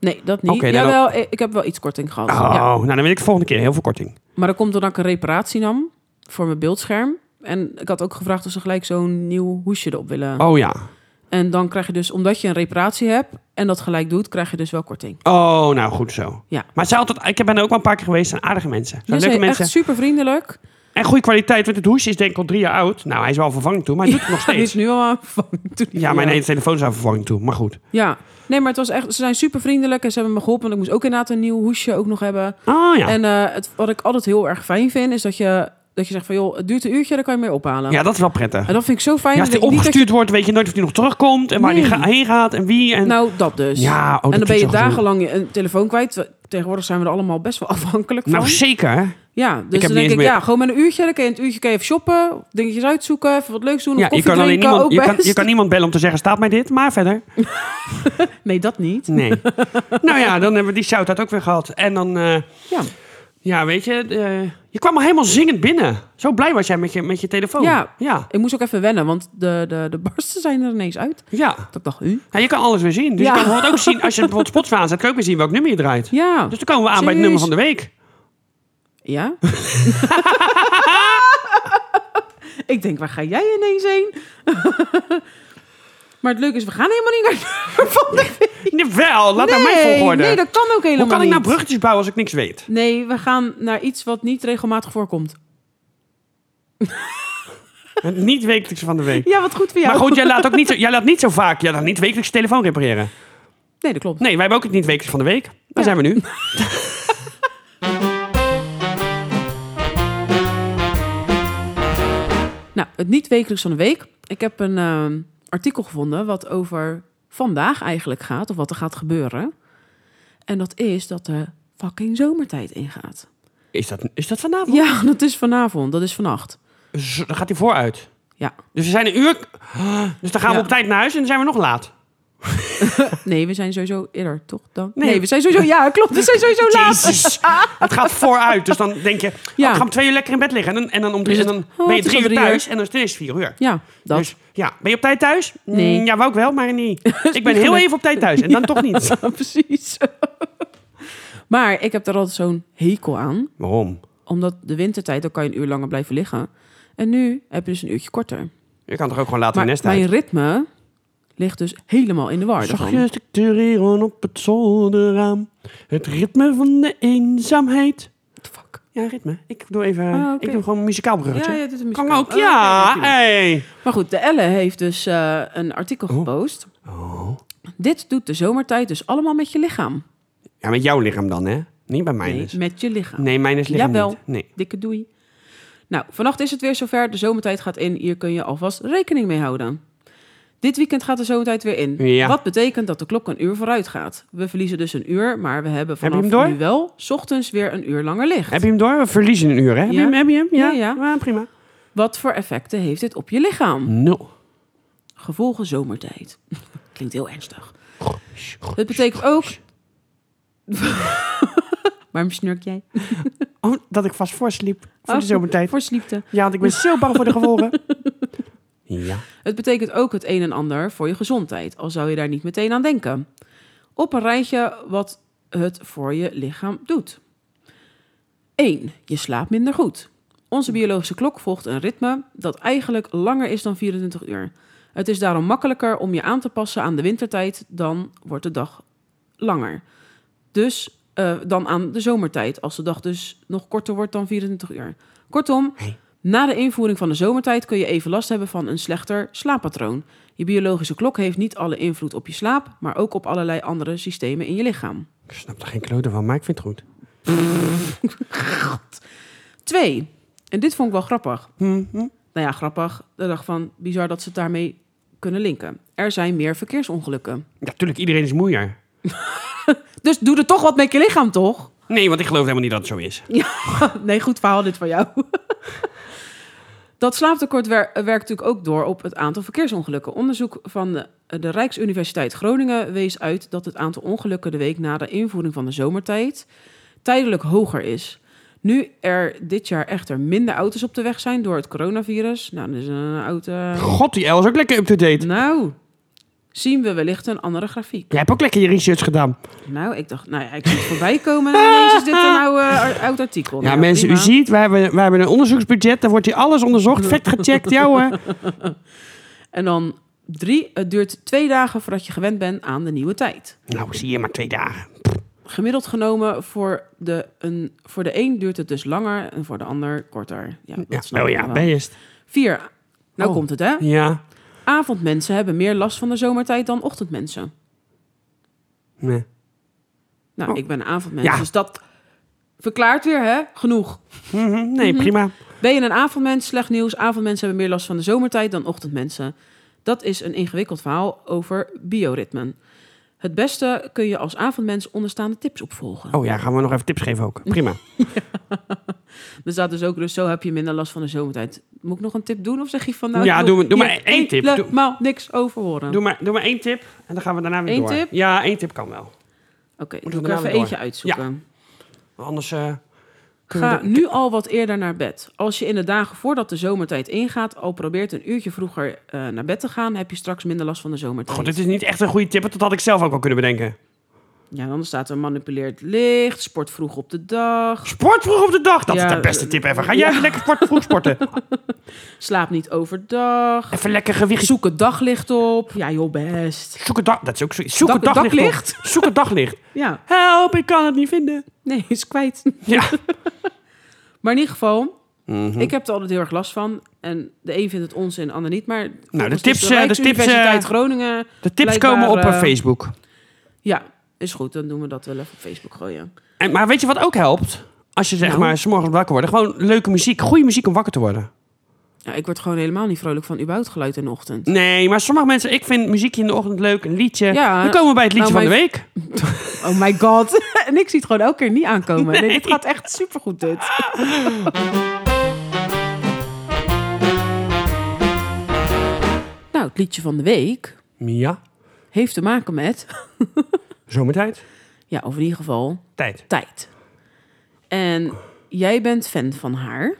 Nee, dat niet. Oké, dan Jawel, ik- ik heb wel iets korting gehad. Oh, Ja. nou dan wil ik de volgende keer heel veel korting. Maar dat komt doordat ik een reparatie nam voor mijn beeldscherm. En ik had ook gevraagd of ze gelijk zo'n nieuw hoesje erop willen. Oh ja. En dan krijg je dus, omdat je een reparatie hebt en dat gelijk doet, krijg je dus wel korting. Oh, nou goed zo. Ja. Maar ze altijd, ik ben er ook wel een paar keer geweest. Zijn aardige mensen. Zijn Ze zijn leuke mensen. Dus echt super vriendelijk. En goede kwaliteit, want het hoesje is denk ik al drie jaar oud. Nou, hij is wel aan vervanging toe, maar hij doet het nog Die is steeds. nu al aan vervangen. Toen- eh, Ja, mijn hele telefoon is aan vervanging toe. Maar goed. Ja, nee, maar het was echt, ze zijn super vriendelijk en ze hebben me geholpen. Want ik moest ook inderdaad een nieuw hoesje ook nog hebben. Oh ja. En eh, het, wat ik altijd heel erg fijn vind, is dat je, dat je zegt van joh, het duurt een uurtje, dan kan je mee ophalen. ja, dat is wel prettig. En dat vind ik zo fijn. Ja, als dat die ik niet dat je- opgestuurd wordt, weet je nooit of die nog terugkomt. En waar die Nee. ga- heen gaat en wie. En... Nou, dat dus. ja, oh, en dan dat ben je vind ik zo gedoe. dagenlang je een telefoon kwijt. Tegenwoordig zijn we er allemaal best wel afhankelijk van. Nou, zeker. hè? ja, dus heb dan niet denk eens ik, meer- ja, gewoon met een uurtje. Dan kan je in het uurtje kan je even shoppen, dingetjes uitzoeken, even wat leuks doen. Ja, of je koffie kan alleen drinken, niemand, je ook kan, best. je kan niemand bellen om te zeggen, staat mij dit? Maar verder, Nee, dat niet. nee. nou ja, dan hebben we die shout-out ook weer gehad. En dan, eh, Ja. ja, weet je, eh, je kwam al helemaal zingend binnen. Zo blij was jij met je, met je telefoon. Ja. Ja, Ik moest ook even wennen, want de, de, de barsten zijn er ineens uit. ja. Dat ik dacht, u? Ja, je kan alles weer zien. Dus Ja. je kan bijvoorbeeld ook zien, als je bijvoorbeeld Spotify aanzet, kan je ook weer zien welk nummer je draait. Ja. Dus dan komen we aan bij Serieus? het nummer van de week. Ja? ik denk, waar ga jij ineens heen? maar het leuke is, we gaan helemaal niet naar de van de week. Jawel, laat naar mijn volgorde. Nee, dat kan ook helemaal Hoe kan ik nou niet. bruggetjes bouwen als ik niks weet? Nee, we gaan naar iets wat niet regelmatig voorkomt. Het niet wekelijks van de week. Ja, wat goed voor jou. Maar goed, jij laat ook niet zo, jij laat niet zo vaak, jij laat niet wekelijks je telefoon repareren. Nee, dat klopt. Nee, wij hebben ook het niet wekelijks van de week. Daar Ja. zijn we nu. Nou, het niet wekelijks van de week. Ik heb een ehm, artikel gevonden wat over vandaag eigenlijk gaat, of wat er gaat gebeuren. En dat is dat de fucking zomertijd ingaat. Is dat, is dat vanavond? Ja, dat is vanavond, dat is vannacht. Zo, Dan gaat hij vooruit. Ja. Dus we zijn een uur... Dus dan gaan Ja. we op tijd naar huis en dan zijn we nog laat. Nee, we zijn sowieso eerder, toch? Dan? Nee. Nee. we zijn sowieso... Ja, klopt, we zijn sowieso laat. Jezus. Het gaat vooruit. Dus dan denk je, oh, Ja. ik ga om twee uur lekker in bed liggen. En dan, en dan, om drie, Is en het- oh, dan ben je het is drie al uur drie uur. thuis en dan is het eerst vier uur. Ja, dat. Dus ja, ben je op tijd thuis? Nee. Mm, Ja, wou ik wel, maar niet. Ik ben heel gelukt. even op tijd thuis en dan toch niet. precies. maar ik heb daar altijd zo'n hekel aan. Waarom? Omdat de wintertijd, dan kan je een uur langer blijven liggen. En nu heb je dus een uurtje korter. Je kan toch ook gewoon later in Maar nest mijn uit. ritme ligt dus helemaal in de war daarvan. Zachtjes dictureren op het zolderraam. Het ritme van de eenzaamheid. What the fuck? Ja, ritme. Ik doe even... Ah, oké. Ik doe gewoon een muzikaal bruggetje. Ja, ja, dit is een Kan muzikaal. ook, Oh, ja. oké, natuurlijk. hey. Maar goed, de Elle heeft dus eh, een artikel Oh. gepost. Dit doet de zomertijd dus allemaal met je lichaam. Ja, met jouw lichaam dan, hè? Niet bij mijn Nee, is. met je lichaam. Nee, mijn is lichaam Jawel. niet. Nee. Dikke doei. Nou, vannacht is het weer zover. De zomertijd gaat in. Hier kun je alvast rekening mee houden. Dit weekend gaat de zomertijd weer in. Ja. Wat betekent dat de klok een uur vooruit gaat. We verliezen dus een uur, maar we hebben je hem vanaf door? nu wel... 's ochtends weer een uur langer licht. Heb je hem door? We verliezen een uur, hè? Heb je Ja. hem? Heb je hem? Ja, Ja, ja. Ah, prima. Wat voor effecten heeft dit op je lichaam? Nul. Gevolgen zomertijd. Klinkt heel ernstig. Het betekent ook... Waarom snurk jij? Oh, dat ik vast voorsliep voor de zomertijd. Oh. Voor sliepte. Ja, want ik ben zo bang voor de gevolgen. Ja. Het betekent ook het een en ander voor je gezondheid, al zou je daar niet meteen aan denken. Op een rijtje wat het voor je lichaam doet. 1. Je slaapt minder goed. Onze biologische klok volgt een ritme dat eigenlijk langer is dan 24 uur. Het is daarom makkelijker om je aan te passen aan de wintertijd dan wordt de dag langer. Dus eh, dan aan de zomertijd, als de dag dus nog korter wordt dan 24 uur. Kortom, na de invoering van de zomertijd kun je even last hebben van een slechter slaappatroon. Je biologische klok heeft niet alle invloed op je slaap, maar ook op allerlei andere systemen in je lichaam. Ik snap er geen klote van, maar ik vind het goed. 2. En dit vond ik wel grappig. Hm, Nou ja, grappig. De dag van bizar dat ze het daarmee kunnen linken. Er zijn meer verkeersongelukken. Natuurlijk, iedereen is moeier. Dus doe er toch wat met je lichaam, toch? Nee, want ik geloof helemaal niet dat het zo is. Nee, goed verhaal dit van jou. Dat slaaptekort wer- werkt natuurlijk ook door op het aantal verkeersongelukken. Onderzoek van de, de Rijksuniversiteit Groningen wees uit dat het aantal ongelukken de week na de invoering van de zomertijd tijdelijk hoger is. Nu er dit jaar echter minder auto's op de weg zijn door het coronavirus. Nou, dan is een auto. God, die El is ook lekker up-to-date. Nou, zien we wellicht een andere grafiek. Jij hebt ook lekker je research gedaan. Nou, ik dacht, nou ja, ik zie het voorbij komen. En ineens is dit een oude, ar- oud artikel. Ja, Nou, mensen, prima. u ziet, wij hebben, wij hebben een onderzoeksbudget. Daar wordt hier alles onderzocht, vet gecheckt. Ja hoor. En dan drie, het duurt twee dagen voordat je gewend bent aan de nieuwe tijd. Nou, zie je maar twee dagen. Gemiddeld genomen, voor de, een, voor de een duurt het dus langer en voor de ander korter. Ja, dat Ja. snap Oh ik ja, wel. ben je het? Vier, nou Oh. komt het hè. Ja. Avondmensen hebben meer last van de zomertijd dan ochtendmensen. Nee. Nou, Oh. ik ben een avondmens, Ja. dus dat verklaart weer hè, genoeg. Mhm, nee, prima. Ben je een avondmens? Slecht nieuws. Avondmensen hebben meer last van de zomertijd dan ochtendmensen. Dat is een ingewikkeld verhaal over bioritmen. Het beste kun je als avondmens onderstaande tips opvolgen. Oh ja, gaan we nog even tips geven ook. Prima. Er staat dus ook, dus zo heb je minder last van de zomertijd. Moet ik nog een tip doen of zeg je van nou... Ja, ik doe wil maar- doe maar hier één tip. Doe- Helemaal niks over horen. Doe maar, doe maar één tip en dan gaan we daarna weer Eén door. tip? Ja, één tip kan wel. Oké, we ik doe ik daarna even weer eentje door? uitzoeken. Anders eh, kunnen we Ga de- nu al wat eerder naar bed. Als je in de dagen voordat de zomertijd ingaat... al probeert een uurtje vroeger eh, naar bed te gaan... heb je straks minder last van de zomertijd. God, dit is niet echt een goede tip, want dat had ik zelf ook al kunnen bedenken. Ja, dan staat er manipuleert licht, sport vroeg op de dag, Sport vroeg op de dag, dat is Ja, de beste tip ever. Ga ja. jij even lekker sport, vroeg sporten. slaap niet overdag, Even lekker gewicht. zoek het daglicht op. Ja, joh, best. Zoek het dag, dat is ook zo. Zoek het Dak- daglicht. daklicht? op. Zoek het daglicht. Ja, Help, ik kan het niet vinden. nee, is kwijt. Ja. Maar in ieder geval, Mhm. ik heb er altijd heel erg last van. En de een vindt het onzin, de ander niet. Maar volgens de tips, de eh, de Rijksuniversiteit tips, eh, Groningen, De tips Blijkbaar, komen op eh, eh, Facebook. ja, is goed. Dan doen we dat wel even op Facebook gooien. En, maar weet je wat ook helpt? Als je zeg Nou? maar s'morgens wakker wordt. Gewoon leuke muziek. Goede muziek om wakker te worden. Ja, ik word gewoon helemaal niet vrolijk van überhaupt geluid in de ochtend. Nee, maar sommige mensen... Ik vind muziekje in de ochtend leuk. Een liedje. Ja. Dan komen we bij het liedje Nou, van de week. Oh my god. en ik zie het gewoon elke keer niet aankomen. Nee, dit gaat echt supergoed dit. nou, het liedje van de week Ja. heeft te maken met, Zomertijd. ja, of in ieder geval, Tijd. tijd. En jij bent fan van haar.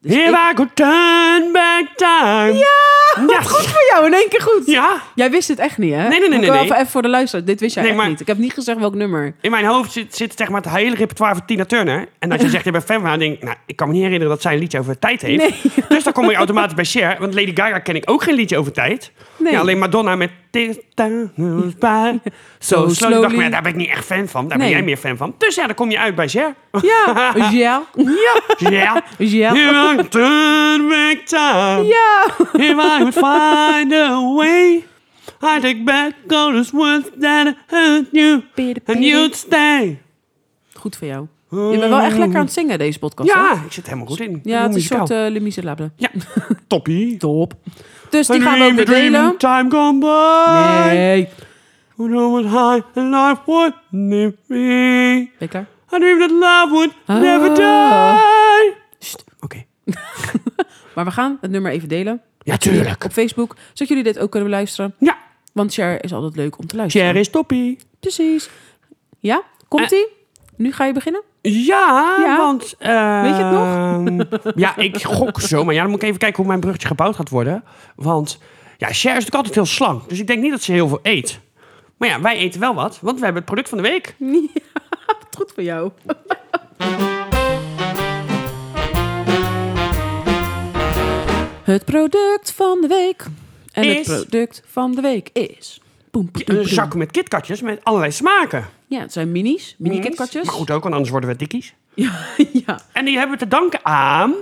Dus Here ik- I go turn back time. Ja, Ja. wat goed voor jou, in één keer goed. Ja. Jij wist dit echt niet, hè? Nee, nee, nee, Moet ik nee, wel nee. Even, even voor de luisteraar, dit wist jij Nee, echt maar- niet. Ik heb niet gezegd welk nummer. In mijn hoofd zit, zit zeg maar het hele repertoire van Tina Turner. En als je zegt, je bent fan van haar, denk ik... Nou, ik kan me niet herinneren dat zij een liedje over tijd heeft. Dus dan kom je automatisch bij Cher. Want Lady Gaga ken ik ook geen liedje over tijd. Nee. Ja, alleen Madonna met... This time goes by So So slowly. Ik dacht, slowly. maar ja, daar ben ik niet echt fan van. Daar Nee. ben jij meer fan van. Dus ja, dan kom je uit bij Cher. Ja, ja, Ja. ja, Here I turn back time. ja. If I would find a way. I take back all those words that hurt you. And you'd stay. Goed voor jou. Je bent wel echt lekker aan het zingen deze podcast. hè? Ja, ik zit helemaal goed in. ja het is een Muzikaal. soort eh Le Miserable. Ja, toppie. Top. Dus die gaan we ook weer Dream, delen. Time gone by. Nee. Who know what high and life would live me. Ben je klaar? I dream that love would never Ah. die. Sst. Oké. Maar we gaan het nummer even delen Ja, tuurlijk. op Facebook. Zodat jullie dit ook kunnen beluisteren. Ja, Want share is altijd leuk om te luisteren. Cher Eh. is toppie. Precies. Ja, komt-ie? Nu ga je beginnen? Ja, Ja. want... eh, Weet je het ja, ik gok zo. Maar ja, dan moet ik even kijken hoe mijn bruggetje gebouwd gaat worden. Want ja, Cher is natuurlijk altijd heel slank. Dus ik denk niet dat ze heel veel eet. Maar ja, wij eten wel wat. Want we hebben het product van de week. Wat goed voor jou. Het product van de week. En Is- het product van de week is... Boem, boem, boem, Een boem. zak met kitkatjes met allerlei smaken. Ja, het zijn minis. Mini-kitkatjes. Maar goed ook, want anders worden we dikkies. Ja, ja, En die hebben we te danken aan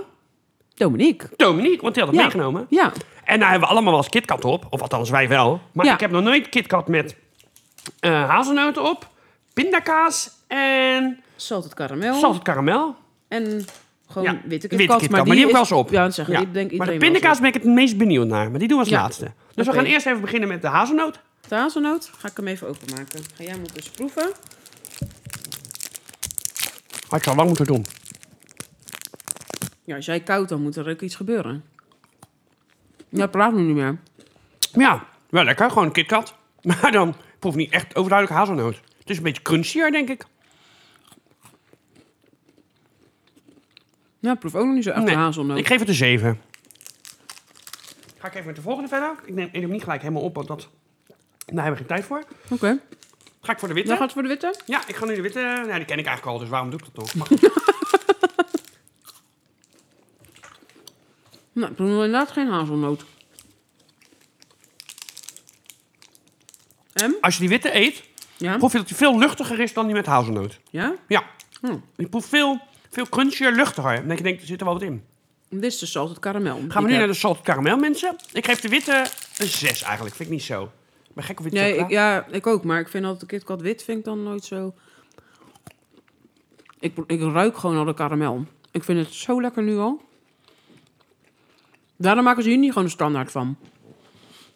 Dominique. Dominique, want die had het Ja. meegenomen. Ja, En daar hebben we allemaal wel eens KitKat op. Of althans, wij wel. Maar Ja. ik heb nog nooit KitKat met eh, hazelnoten op, pindakaas en zout karamel. zout karamel. En gewoon Ja, witte witte KitKat. KitKat, maar die heb ik wel is- eens op. Ja, dat zeggen, Ja. die denk ik maar de iedereen pindakaas ben ik het meest benieuwd naar. Maar die doen we als Ja. laatste. Dus Oké. we gaan eerst even beginnen met de wel hazelnoot. eens op. De hazelnoot, ga ik hem even openmaken. Ga jij hem dus proeven. Had ik al lang moeten doen. Ja, als jij koud, dan moet er ook iets gebeuren. Ja, praat nu niet meer. Maar ja, wel lekker. Gewoon een KitKat. Maar dan proef niet echt overduidelijk hazelnoot. Het is een beetje crunchier, denk ik. Ja, proef ook nog niet zo echt Nee. hazelnoot. Ik geef het een 7. Ga ik even met de volgende verder. Ik neem, ik neem hem niet gelijk helemaal op, want dat, daar hebben we geen tijd voor. Oké, Ga ik voor de dan witte? gaat het voor de witte. Ja, ik ga nu de witte... Nou, die ken ik eigenlijk al, dus waarom doe ik dat nog? Maar Nou, proef nog inderdaad geen hazelnoot. En? als je die witte eet, Ja? proef je dat die veel luchtiger is dan die met hazelnoot. Ja? Ja. Hm. Je proeft veel, veel crunchier, luchtiger. En dat je denkt, er zit er wel wat in. Dit is dus altijd karamel. die Gaan ik we nu heb. naar de salted caramel, mensen. Ik geef de witte een 6 eigenlijk. Vind ik niet zo. Ik ben gek op witte Nee, ik, chocola. ja, ik ook. Maar ik vind altijd KitKat wit vind ik dan nooit zo... Ik, ik ruik gewoon al de karamel. Ik vind het zo lekker nu al. Daarom maken ze hier niet gewoon een standaard van.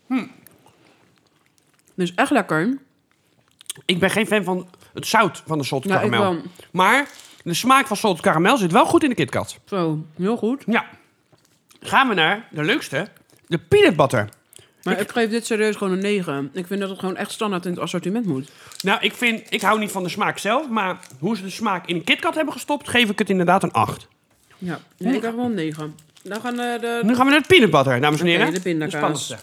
Hm. Dus echt lekker. Ik ben geen fan van het zout van de salted Ja, ik caramel. wel. Maar de smaak van salted caramel zit wel goed in de KitKat. Zo, heel goed. Ja. Gaan we naar de leukste. De peanut butter. Maar ik geef dit serieus gewoon een 9. Ik vind dat het gewoon echt standaard in het assortiment moet. Nou, ik, vind, ik hou niet van de smaak zelf, maar hoe ze de smaak in een KitKat hebben gestopt, geef ik het inderdaad een 8. Ja, nee, ik krijg wel een 9. Dan gaan eh, de Nu gaan we naar de peanut butter, dames en Oké, heren. de pindakaas. spannendste.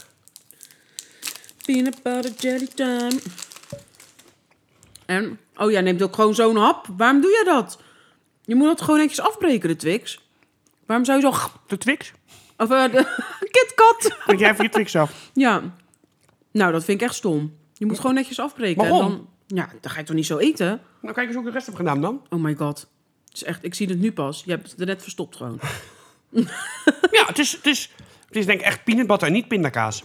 peanut butter jelly time. En, oh jij neemt ook gewoon zo'n hap. Waarom doe jij dat? Je moet dat gewoon netjes afbreken, de Twix. Waarom zou je zo... De Twix? Of eh, de KitKat. Want jij vindt je Twix af. Ja. Nou, dat vind ik echt stom. Je moet gewoon netjes afbreken. en Waarom? dan, ja, dan ga je toch niet zo eten? Nou, kijk eens hoe ik de rest heb gedaan dan. Oh my god. Het is echt, ik zie het nu pas. Je hebt het er net verstopt gewoon. Ja, het is, het is, het is denk ik echt peanut butter en niet pindakaas.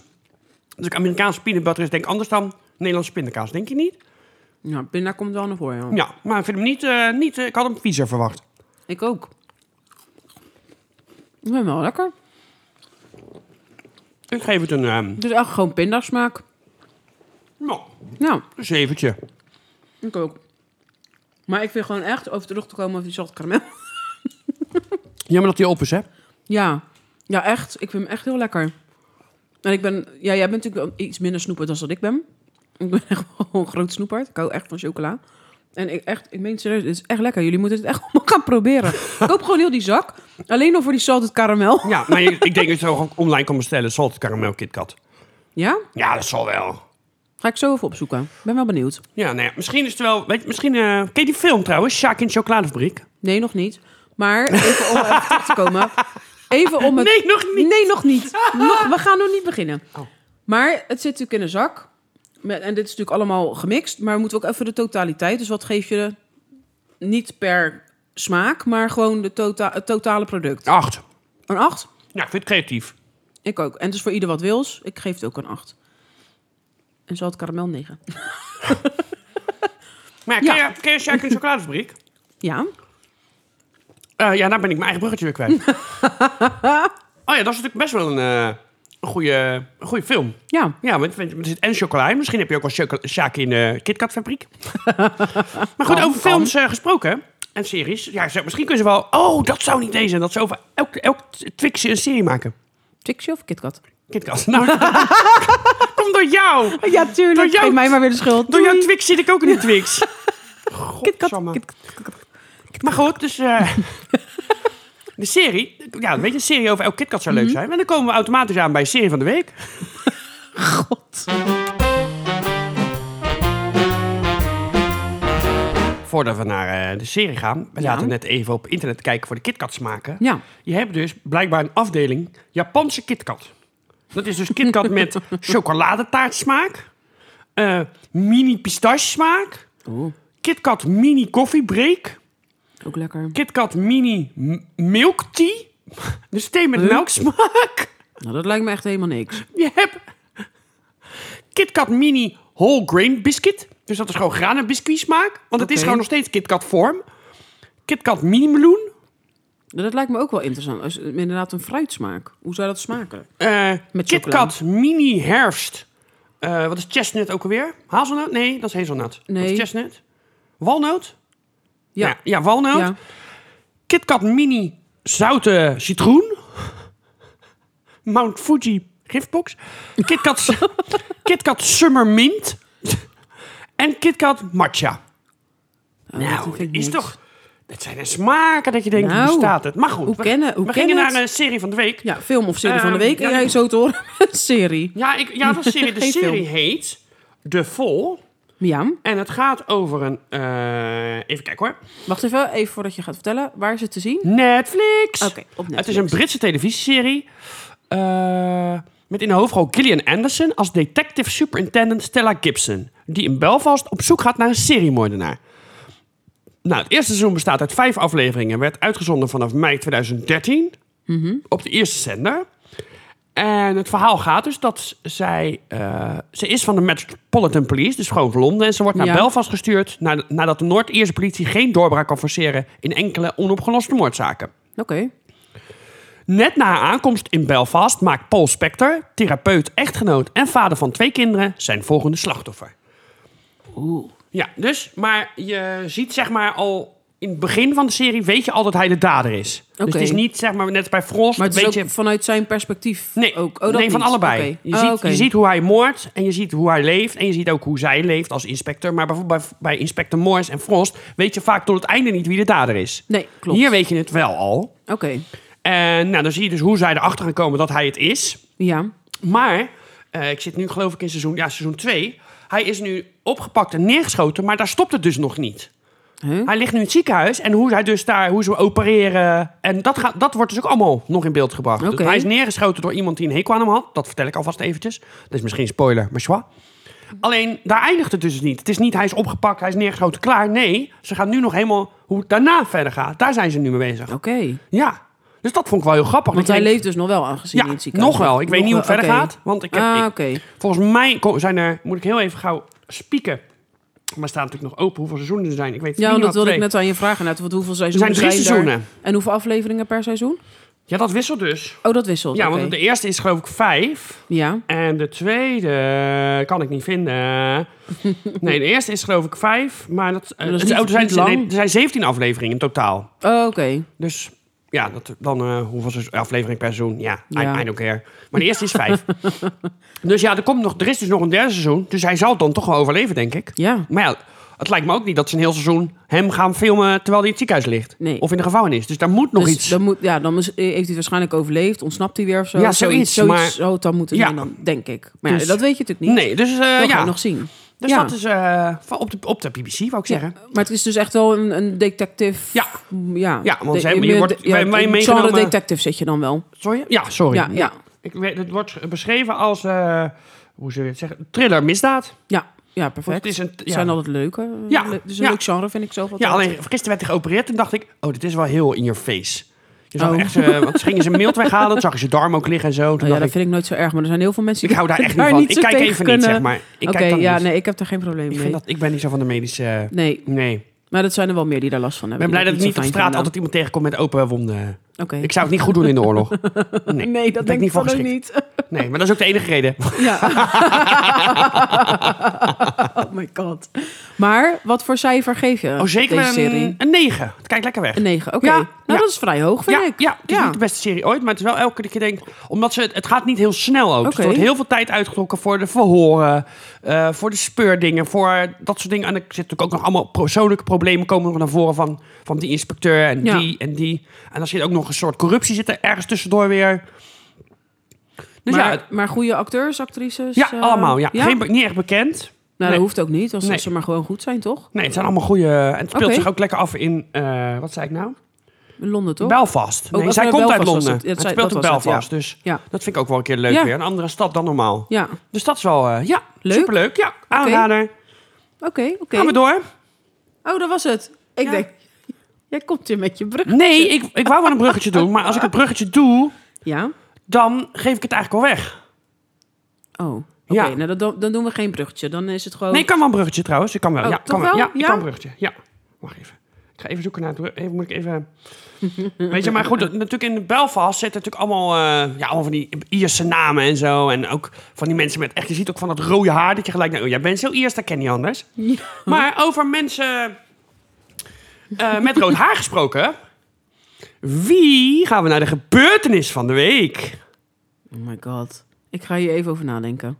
Dus Amerikaanse peanut butter is denk ik anders dan Nederlandse pindakaas, denk je niet? Ja, pinda komt wel naar voren. ja. Ja, maar ik vind hem niet... eh, niet eh, ik had hem viezer verwacht. Ik ook. Ik ben wel lekker. Ik geef het een... ehm Het is echt gewoon pindasmaak. nou, Ja, een zeventje. ik ook. Maar ik vind gewoon echt, over terug te komen over die zout karamel. Jammer dat hij op is, hè? Ja. ja, echt. Ik vind hem echt heel lekker. En ik ben... Ja, jij bent natuurlijk wel iets minder snoeperd dan dat ik ben. Ik ben echt wel een groot snoeperd. Ik hou echt van chocola. En ik echt, ik meen het serieus, het is echt lekker. Jullie moeten het echt allemaal gaan proberen. Koop gewoon heel die zak. Alleen al voor die zout karamel. Ja, maar je- ik denk dat je het gewoon online kan bestellen. Salt caramel KitKat. Ja? Ja, dat zal wel. Ga ik zo even opzoeken. Ben wel benieuwd. Ja, nou ja, misschien is het wel... Weet je, misschien... eh, ken je die film trouwens? Sjaak in de chocoladefabriek? Nee, nog niet. Maar even om even terug te komen. Even om het... Nee, nog niet. Nee, nog niet. Nog- we gaan nog niet beginnen. Oh. Maar het zit natuurlijk in een zak. Met, en dit is natuurlijk allemaal gemixt. Maar we moeten ook even de totaliteit. Dus wat geef je niet per smaak, maar gewoon de tota het totale product? Acht. Een 8? Ja, ik vind het creatief. Ik ook. En het is voor ieder wat wils. Ik geef het ook een 8. En zo had karamel 9. Maar ja, ken, Ja. Je, ken je Sjaak in de chocoladefabriek? Ja? Eh, ja, daar ben ik mijn eigen bruggetje weer kwijt. oh ja, dat is natuurlijk best wel een, eh, een, goede, een goede film. Ja. Ja, want want er zit en chocola in. Misschien heb je ook wel choco- Sjaak in de KitKat-fabriek. maar goed, over films eh, gesproken en series. Ja, ze- misschien kunnen ze wel... Oh, dat zou niet deze. en Dat ze over elk, elk Twixje een serie maken. Twixie of KitKat? KitKat. Nou, kom door jou. Ja, tuurlijk. Geef Geef mij mij maar weer de schuld. Door jouw Twix zit ik ook in de Twix. Godsamme. KitKat. Maar goed, dus... eh, De serie, ja, weet je, een serie over elk KitKat zou leuk zijn. En dan komen we automatisch aan bij serie van de week. God. Voordat we naar eh, de serie gaan, we Ja. zaten net even op internet te kijken voor de KitKats maken. Ja. Je hebt dus blijkbaar een afdeling Japanse KitKat. Dat is dus KitKat met chocoladetaartsmaak, eh mini pistachesmaak, Oeh, KitKat mini koffiebreak, ook lekker. KitKat mini m- milk tea, dus thee met melksmaak. Nou, dat lijkt me echt helemaal niks. Je hebt KitKat mini whole grain biscuit, dus dat is gewoon granenbiscuit smaak, want het is Oké. gewoon nog steeds KitKat vorm. KitKat mini meloen. Nou, Dat lijkt me ook wel interessant. Als, inderdaad, een fruitsmaak. Hoe zou dat smaken? Eh Met KitKat Mini Herfst. Eh, wat is chestnut ook alweer? Hazelnoot? Nee, dat is hazelnoot. Wat Nee. is chestnut? Walnoot? Ja. Ja, Nou, ja, walnoot. Ja. Nou, KitKat Mini Zoute Citroen. Mount Fuji Giftbox. KitKat, KitKat Summer Mint. En KitKat Matcha. Oh, dat nou, vind ik is niks. toch... Het zijn er smaken dat je denkt, Nou, hoe staat het? Maar goed, Hoe we, kennen, hoe we kennen gingen het? naar een serie van de week. Ja, film of serie van de Ehm, week. ja, en jij ik- zo te horen, een serie. Ja, ik, ja dat is serie. de Geen serie film. heet De Vol. Ja, En het gaat over een... eh, even kijken hoor. wacht even, even voordat je gaat vertellen. Waar is het te zien? Netflix! Oké, op Netflix. Het is een Britse televisieserie. eh, met in de hoofdrol Gillian Anderson als detective superintendent Stella Gibson. Die in Belfast op zoek gaat naar een seriemoordenaar. Nou, het eerste seizoen bestaat uit vijf afleveringen. en Werd uitgezonden vanaf mei 2013 op de eerste zender. En het verhaal gaat dus dat zij... eh, ze is van de Metropolitan Police, dus gewoon van Londen. En ze wordt naar Ja. Belfast gestuurd... na- nadat de Noord-Ierse politie geen doorbraak kan forceren... in enkele onopgeloste moordzaken. Oké. Net na haar aankomst in Belfast maakt Paul Spector, therapeut, echtgenoot en vader van twee kinderen, zijn volgende slachtoffer. Oeh. Ja, dus, maar je ziet zeg maar al in het begin van de serie, weet je al dat hij de dader is. Dus Oké. het is niet zeg maar net als bij Frost, Maar het een is beetje... ook vanuit zijn perspectief Nee, ook. Oh, dat nee van niet. allebei. Oké. Je, Oh, ziet, oké. je ziet hoe hij moordt en je ziet hoe hij leeft. En je ziet ook hoe zij leeft als inspector. Maar bijvoorbeeld bij, bij inspector Morris en Frost weet je vaak tot het einde niet wie de dader is. Nee, klopt. Hier weet je het wel al. Oké, En nou, dan zie je dus hoe zij erachter gaan komen dat hij het is. ja. Maar, eh, ik zit nu geloof ik in seizoen, ja, seizoen 2. Hij is nu opgepakt en neergeschoten, maar daar stopt het dus nog niet. Huh? Hij ligt nu in het ziekenhuis en hoe, hij dus daar, hoe ze opereren. En dat, gaat, dat wordt dus ook allemaal nog in beeld gebracht. Dus Oké. hij is neergeschoten door iemand die een hekel aan hem had. Dat vertel ik alvast eventjes. Dat is misschien een spoiler, maar schwa. Alleen, daar eindigt het dus niet. Het is niet hij is opgepakt, hij is neergeschoten, klaar. Nee, ze gaan nu nog helemaal hoe het daarna verder gaat. Daar zijn ze nu mee bezig. Oké. Ja, dus dat vond ik wel heel grappig. Want Ik hij denk- leeft dus nog wel aangezien ja, in het ziekenhuis. nog wel. Ik weet niet hoe Nog het verder wel, oké. gaat. Want ik heb, ah, ik- oké. volgens mij ko- zijn er... Moet ik heel even gauw spieken. Maar staat natuurlijk nog open hoeveel seizoenen er zijn. Ik weet het Ja, niet. want dat maar wilde ik net twee. aan je vragen. Net, want hoeveel Er seizoenen zijn drie er? seizoenen. En hoeveel afleveringen per seizoen? Ja, dat wisselt dus. Oh, dat wisselt. Ja, oké. want de eerste is geloof ik vijf. Ja, En de tweede kan ik niet vinden. Nee, de eerste is geloof ik vijf. Maar dat, eh, Dat is het- niet- oh, er, zijn, niet lang. nee, er zijn 17 afleveringen in totaal. Oh, oké. Dus ja, dat, dan eh, hoeveel seizoen- aflevering per seizoen? Ja, I- Ja. I, don't care. Maar de eerste is vijf. dus ja, er, komt nog, er is dus nog een derde seizoen. Dus hij zal het dan toch wel overleven, denk ik. Ja. Maar ja, het lijkt me ook niet dat ze een heel seizoen hem gaan filmen terwijl hij in het ziekenhuis ligt. Nee. Of in de gevangenis. Dus daar moet nog dus iets. Dan, moet, ja, dan is- heeft hij het waarschijnlijk overleefd. Ontsnapt hij weer of zo. Ja, zoiets, maar- zou het dan moeten Ja. zijn, dan, denk ik. Maar ja, Dus- dat weet je natuurlijk niet. Nee, dus eh, Dat gaan ja. we nog zien. Dus Ja. dat is eh, van op, de, op de BBC, wou ik zeggen. Ja, maar het is dus echt wel een, een detective... Ja. Ja, Ja, want ze De- hebben- je meer wordt- de- wij- wij een meegenomen- genre detective zit je dan wel. Sorry? Oh Ja, sorry. Ja, ja. Ik weet, het wordt beschreven als, eh, hoe zullen we het zeggen, thriller misdaad. Ja, ja Want het perfect. is een, ja. Zijn altijd leuke. Ja, Le- dus een ja. leuk genre vind ik zo. wat Ja, dat- alleen gisteren werd hij geopereerd en dacht ik, oh, dit is wel heel in your face. Je zag Oh. echt, eh, want ze gingen zijn mild weghalen, toen zag je zijn darm ook liggen en zo. Toen Oh ja, dacht dat ik, vind ik nooit zo erg. Maar er zijn heel veel mensen ik die hou daar echt niet daar van. niet ik zo kijk even tegen niet, kunnen. zeg maar. Ik Oké, kijk dan ja, niet. nee, ik heb er geen probleem Ik, mee. vind dat, ik ben niet zo van de medische... Nee, nee. maar dat zijn er wel meer die daar last van Ik hebben. ben blij dat ik die niet op zo straat fijn altijd vinden. iemand tegenkom met open wonden. Oké. Ik zou het niet goed doen in de oorlog. Nee, Nee, daar dat ben denk ik voor van ook geschikt. niet. Nee, maar dat is ook de enige reden. Ja. oh my god. Maar wat voor cijfer geef je Oh, zeker deze een, serie? een 9. Het kijkt lekker weg. Een 9, oké. Ja, nou, ja. dat is vrij hoog, vind Ja, ik. ja, het is niet de beste serie ooit, maar het is wel elke keer denk omdat ze het, het gaat niet heel snel ook. Dus er Oké. wordt heel veel tijd uitgetrokken voor de verhoren, eh, voor de speurdingen, voor dat soort dingen. En er zitten natuurlijk ook nog allemaal persoonlijke problemen komen nog naar voren van, van die inspecteur en Ja. die en die. En dan zit ook nog een soort corruptie zit er ergens tussendoor weer. Dus maar, ja, het- maar goede acteurs, actrices? ja, eh, allemaal. Ja. Geen be- niet echt bekend. Nou, Nee. dat hoeft ook niet, als Nee. ze maar gewoon goed zijn, toch? Nee, het zijn allemaal goede. En het speelt Oké. zich ook lekker af in. eh, wat zei ik nou? In Londen, toch? Belfast. Nee, dat zij was komt uit Belfast, Londen. was Het, het. Ja, dat zei- speelt dat in was het, Belfast. Dus Ja. dat vind ik ook wel een keer leuk Ja. weer. Een andere stad dan normaal. Ja, oké, Dus dat is wel, eh, ja, Leuk. superleuk. Ja, aanrader. oké. Gaan we door. Oh, dat was het. Ik Ja. denk, jij komt hier met je brug. Nee, ik, ik wou wel een bruggetje doen. Maar als ik het bruggetje doe, Ja? dan geef ik het eigenlijk wel weg. Oh, oké. Ja. Nou, dat- dan, dan doen we geen bruggetje. Dan is het gewoon... Nee, ik kan wel een bruggetje trouwens. Ik kan wel. Oh, ja, toch kan wel? Ja, ik Ja? kan een bruggetje. Ja, wacht even. Ik ga even zoeken naar het brug- even, Moet ik even... Weet je, maar goed, dat- natuurlijk in Belfast zitten natuurlijk allemaal, eh, ja, allemaal van die Ierse namen en zo. En ook van die mensen met echt, je ziet ook van dat rode haar dat je gelijk denkt, oh, jij bent zo Iers, dat ken je anders. Maar over mensen eh, met rood haar gesproken. Wie gaan we naar de gebeurtenis van de week? Oh my god. Ik ga hier even over nadenken.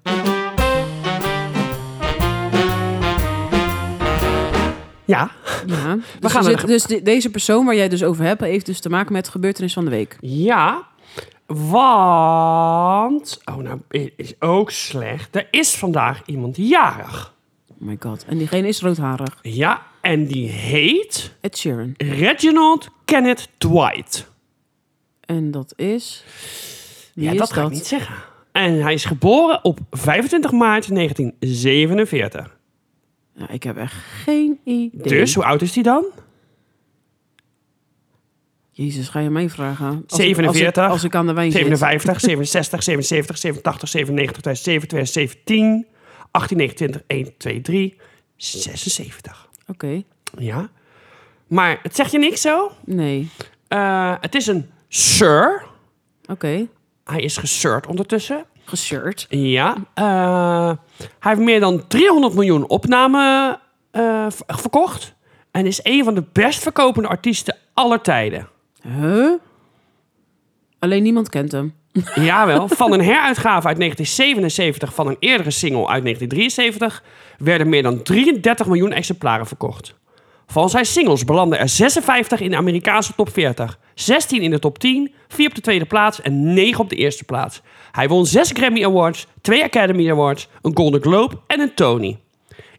Ja. Ja. Dus, er gaan zit- er- dus de- deze persoon waar jij het dus over hebt, heeft dus te maken met de gebeurtenis van de week. Ja, want... Oh, nou, i- is ook slecht. Er is vandaag iemand jarig. Oh my god. En diegene is roodharig. Ja, en die heet Ed Sheeran. Reginald Kenneth Dwight. En dat is... Wie ja, is dat ga ik niet zeggen. En hij is geboren op 25 maart 1947. Ja, ik heb echt geen idee. Dus, hoe oud is hij dan? Jezus, ga je mij vragen? Als ik- 47. Als ik, als ik aan de wijn zit. 57, 67, 77, 87, 97, 2007, 2017, 18, 19, 1, 2, 3, 76. Oké. Ja. Maar het zegt je niks zo? Nee. Eh, het is een sir. Oké. Hij is gesurd ondertussen. Geshirt. Ja. eh, hij heeft meer dan 300 miljoen opnamen eh, v- verkocht. En is een van de best verkopende artiesten aller tijden. Huh? Alleen niemand kent hem. Jawel, van een heruitgave uit 1977 van een eerdere single uit 1973 werden meer dan 33 miljoen exemplaren verkocht. Van zijn singles belanden er 56 in de Amerikaanse top 40, 16 in de top 10, 4 op de tweede plaats en 9 op de eerste plaats. Hij won 6 Grammy Awards, 2 Academy Awards, een Golden Globe en een Tony.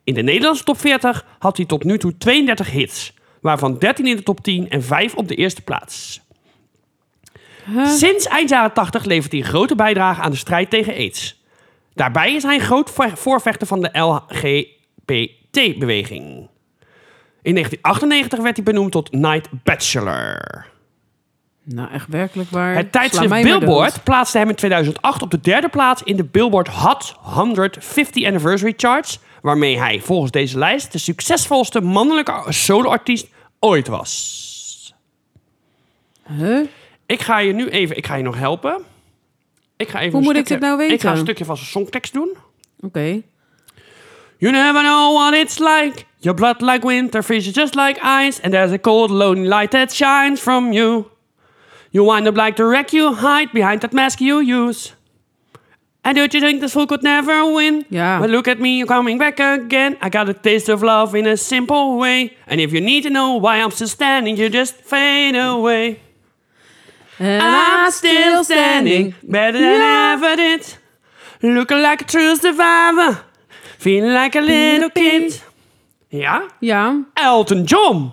In de Nederlandse top 40 had hij tot nu toe 32 hits, waarvan 13 in de top 10 en 5 op de eerste plaats. Eh? Sinds eind jaren 80 levert hij een grote bijdrage aan de strijd tegen AIDS. Daarbij is hij een groot voor- voorvechter van de LGBT-beweging. In 1998 werd hij benoemd tot Night Bachelor. Nou, echt werkelijk waar. Het Sla tijdschrift mij maar Billboard dood. plaatste hem in 2008 op de derde plaats in de Billboard Hot 100 50 Anniversary Charts, waarmee hij volgens deze lijst de succesvolste mannelijke soloartiest ooit was. Huh? Ik ga je nu even, ik ga je nog helpen. Ik ga even Hoe een moet ik stukje- dit nou weten? Ik ga een stukje van zijn songtekst doen. Oké. You never know what it's like. Your blood like winter freezes just like ice. And there's a cold lonely light that shines from you. You wind up like the wreck you hide behind that mask you use. And don't you think this fool could never win? Ja. But look at me, you're coming back again. I got a taste of love in a simple way. And if you need to know why I'm still standing, you just fade away. And I'm still standing, better than Ja. ever did. Looking like a true survivor, feeling like a little kid. Ja? Ja. Elton John.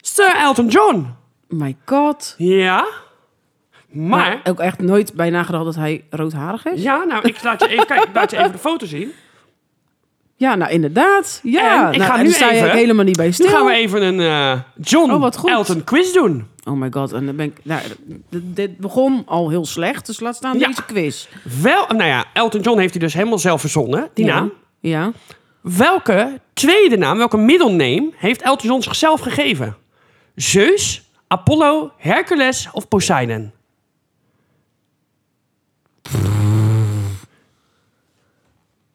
Sir Elton John. My god. Nou, Ja? Maar... Ook echt nooit bij nagedacht dat hij roodharig is. Ja, nou, ik laat je even, kijk, ik laat je even de foto zien. Ja, nou inderdaad. En Ja. ik nou, ga en nu daar sta je even- ook helemaal niet bij stil. Nu gaan we e- even een eh, John Oh, wat goed. Elton quiz doen. Oh my god. En dan ben ik... Nou, dit- dit begon al heel slecht, dus laat staan Ja. deze quiz. Wel, nou ja, Elton John heeft hij dus helemaal zelf verzonnen, die ja. naam. Ja. Welke tweede naam, welke middelneem heeft Elton John zichzelf gegeven? Zeus, Apollo, Hercules of Poseidon?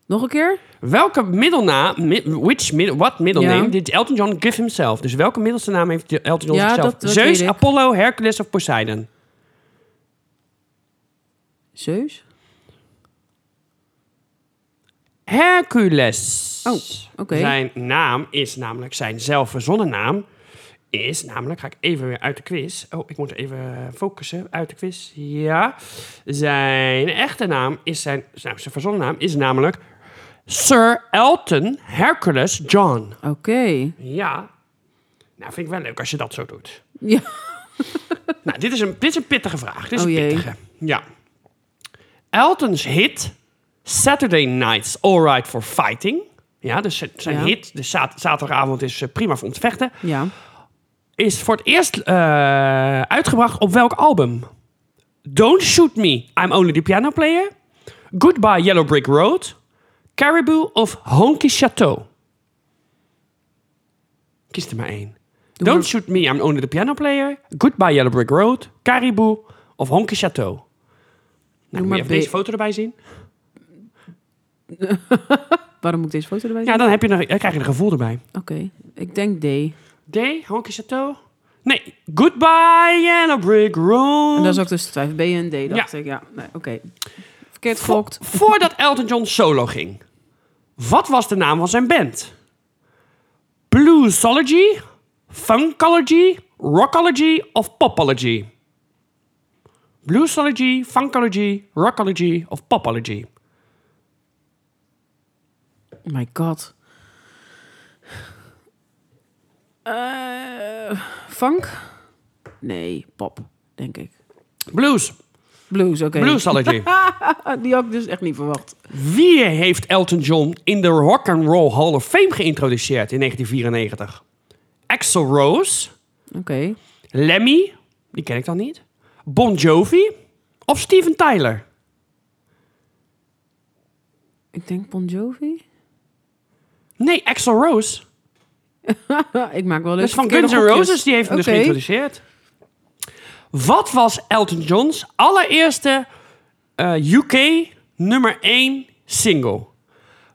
Nog een keer? Welke middelnaam, mi- which mid, what middelneem Ja. did Elton John give himself? Dus welke middelste naam heeft Elton John Ja, zichzelf? dat- dat weet Zeus, ik. Apollo, Hercules of Poseidon? Zeus? Hercules. Oh, oké. Zijn naam is namelijk, zijn zelfverzonnen naam is namelijk, ga ik even weer uit de quiz. Oh, ik moet even focussen, uit de quiz. Ja. Zijn echte naam is zijn, nou, zijn verzonnen naam is namelijk Sir Elton Hercules John. Oké. Ja. Nou, vind ik wel leuk als je dat zo doet. Ja. Nou, dit is een, dit is een pittige vraag. Dit is Oh, een jee. pittige. Ja. Elton's hit Saturday Nights All Right for Fighting. Ja, dus zijn- zijn Ja. hit, de za- zaterdagavond is eh, prima voor ons vechten. Ja. Is voor het eerst eh, uitgebracht op welk album? Don't Shoot Me, I'm Only the Piano Player. Goodbye Yellow Brick Road. Caribou of Honky Chateau. Kies er maar één. Don't maar- Shoot Me, I'm Only the Piano Player. Goodbye Yellow Brick Road. Caribou of Honky Chateau. Nou, moet je maar even B. deze foto erbij zien? Waarom moet ik deze foto erbij Ja, dan, heb je nog, dan krijg je een gevoel erbij. Oké. Ik denk D. D, Honky Chateau. Nee, Goodbye Yellow Brick Road. En dat is ook tussen twijf B en D, dacht Ja. ik. Ja, nee, oké. Verkeerd Vo- gelokt. Voordat Elton John solo ging. Wat was de naam van zijn band? Bluesology, Funkology, Rockology of Popology? Bluesology, Funkology, Rockology of Popology? Oh My god. Eh, funk? Nee, pop, denk ik. Blues, Blues, oké. Bluesology. Die had ik dus echt niet verwacht. Wie heeft Elton John in de Rock and Roll Hall of Fame geïntroduceerd in 1994? Axel Rose, Oké. Lemmy, die ken ik dan niet, Bon Jovi of Steven Tyler? Ik denk Bon Jovi. Nee, Axel Rose. ik maak wel Dus eens van Guns N' Roses, die heeft hem Oké. dus geïntroduceerd. Wat was Elton John's allereerste eh, UK nummer 1 single?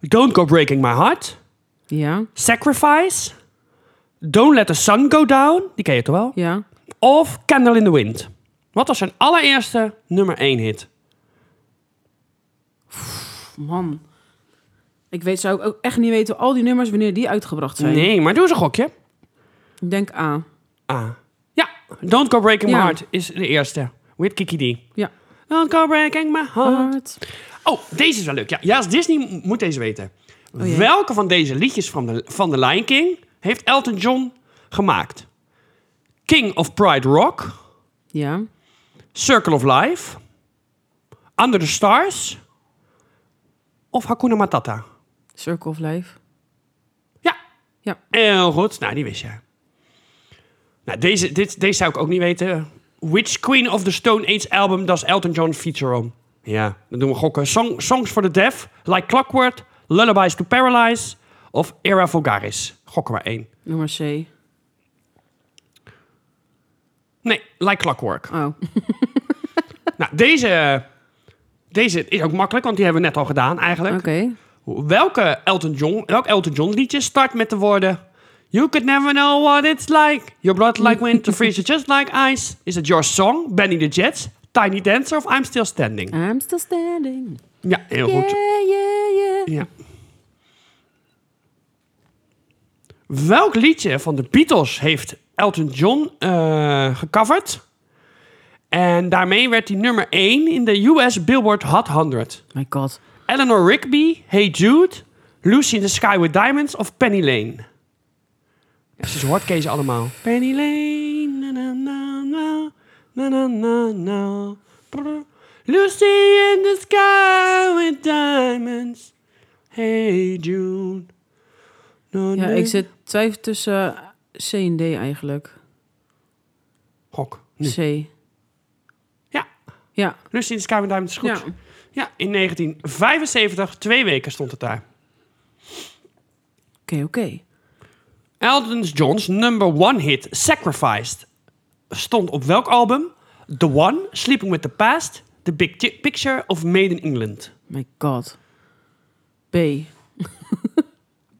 Don't Go Breaking My Heart, Ja, Sacrifice, Don't Let the Sun Go Down, die ken je toch wel? ja. Of Candle in the Wind. Wat was zijn allereerste nummer 1 hit? Man. Ik weet, zou ik ook echt niet weten al die nummers wanneer die uitgebracht zijn. Nee, maar doe eens een gokje. Ik denk A. Ah. Ja, Don't Go Breaking My Ja. Heart is de eerste. With Kiki D. Ja. Don't Go Breaking My Heart. Hard. Oh, deze is wel leuk. Ja, ja als Disney m- moet deze weten. jee. Welke van deze liedjes van de, van de Lion King heeft Elton John gemaakt? King of Pride Rock, Ja. Circle of Life, Under the Stars of Hakuna Matata? Circle of Life. Ja, Ja. heel goed. Nou, die wist je. Nou, deze, dit, deze zou ik ook niet weten. Which Queen of the Stone Age album does Elton John feature on? Ja, dan doen we gokken. Song, songs for the Deaf, Like Clockwork, Lullabies to Paralyze of Era Vulgaris. Gok er maar één. Nummer C. Nee, Like Clockwork. Oh. Nou, deze, deze is ook makkelijk, want die hebben we net al gedaan eigenlijk. Oké. Welke Elton John, welk Elton John liedje start met de woorden... You could never know what it's like. Your blood like winter freezes just like ice. Is it your song, Benny the Jets, Tiny Dancer of I'm Still Standing? I'm still standing. Ja, heel Yeah, goed. yeah, yeah. Ja. Welk liedje van de Beatles heeft Elton John eh, gecoverd? En daarmee werd hij nummer 1 in de US Billboard Hot 100. My god. Eleanor Rigby, Hey Jude, Lucy in the Sky with Diamonds of Penny Lane? Ja, ze hoort Kees allemaal. Penny Lane, na na na na, na na na na. Brr. Lucy in the sky with diamonds, Hey Jude. No, Ja, no. ik zit twijfel tussen eh, C en D eigenlijk. Gok. Nu. C. Ja, Ja. Lucy in the sky with diamonds is goed. Ja. ja, in 1975, twee weken stond het daar. Oké, oké. Elton John's number one hit, Sacrificed, stond op welk album? The One, Sleeping with the Past, The Big Ti- Picture of Made in England. My god. B.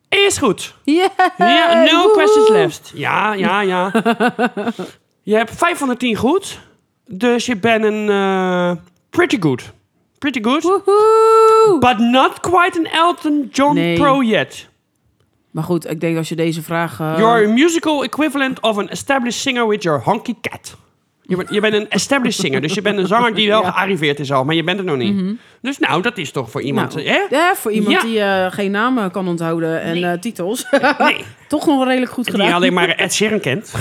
Is goed. Yeah! Ja, no Eh, woehoe. questions left. Ja, ja, ja. je hebt 5 van de 10 goed. Dus je bent een eh, pretty good. Pretty good. Woehoe! But not quite an Elton John Nee. pro yet. Maar goed, ik denk als je deze vraag... eh, You're a musical equivalent of an established singer with your honky cat. Je bent, je bent een established singer, dus je bent een zanger die wel gearriveerd is al, maar je bent er nog niet. Dus nou, dat is toch voor iemand, Mhm. nou, hè? ja, voor iemand Ja. die eh, geen namen kan onthouden en eh, titels. Nee, Toch nog wel redelijk goed die gedaan. alleen maar Ed Sheeran kent.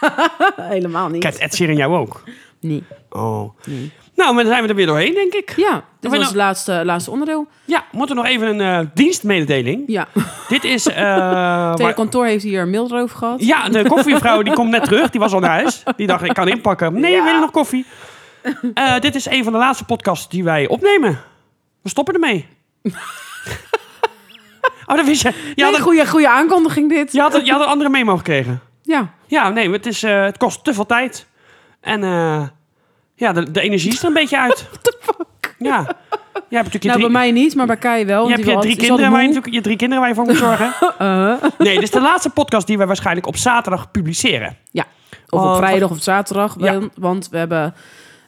Helemaal niet. Kent Ed Sheeran jou ook? Nee. Oh. Nou, maar dan zijn we er weer doorheen, denk ik. Ja, Ja, dit ben was nou- het laatste, laatste onderdeel. moeten we nog even een eh, dienstmededeling. Ja, Dit is... eh, waar- het kantoor heeft hier een mail over gehad. Ja, de koffievrouw die komt net terug. Die was al naar huis. Die dacht, ik kan inpakken. Nee, we willen nog koffie. Eh, dit is een van de laatste podcasts die wij opnemen. We stoppen ermee. oh, dat wist je. Je had, nee, een, goede, goede aankondiging dit. je, had een, je had een andere memo gekregen. Ja. Ja, nee, het, is, eh, het kost te veel tijd. En eh, ja, de, de energie is er een beetje uit. What the fuck? Ja. Jij hebt natuurlijk je Nou, bij drie- mij niet, maar bij Kai wel. je want hebt die je wil drie, altijd- kinderen is waar je, altijd natuurlijk- je drie kinderen waar je voor moet zorgen. Uh. Nee, dit is de laatste podcast die we waarschijnlijk op zaterdag publiceren. moe. Ja, of Want- op vrijdag of zaterdag. Oh, Ja. Want, want we hebben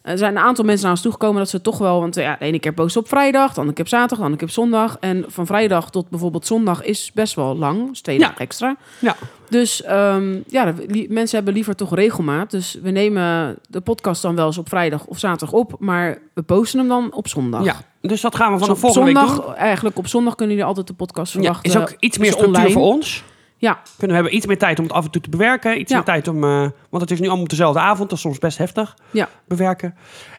Er zijn een aantal mensen naar ons toegekomen dat ze toch wel... Want eh, ja, de ene keer posten op vrijdag, de andere keer op zaterdag, de andere keer op zondag. En van vrijdag tot bijvoorbeeld zondag is best wel lang. Dus twee Ja. dagen extra. Ja. Dus ehm, ja, li- mensen hebben liever toch regelmaat. Dus we nemen de podcast dan wel eens op vrijdag of zaterdag op. Maar we posten hem dan op zondag. ja. Dus dat gaan we vanaf Zo- volgende zondag, week Eigenlijk op zondag kunnen jullie altijd de podcast doen. Ja, verwachten. is ook iets meer is structuur online. voor ons. Ja, Kunnen we hebben iets meer tijd om het af en toe te bewerken. Iets Ja. meer tijd om... eh, want het is nu allemaal op dezelfde avond. Dat is soms best heftig. ja. bewerken.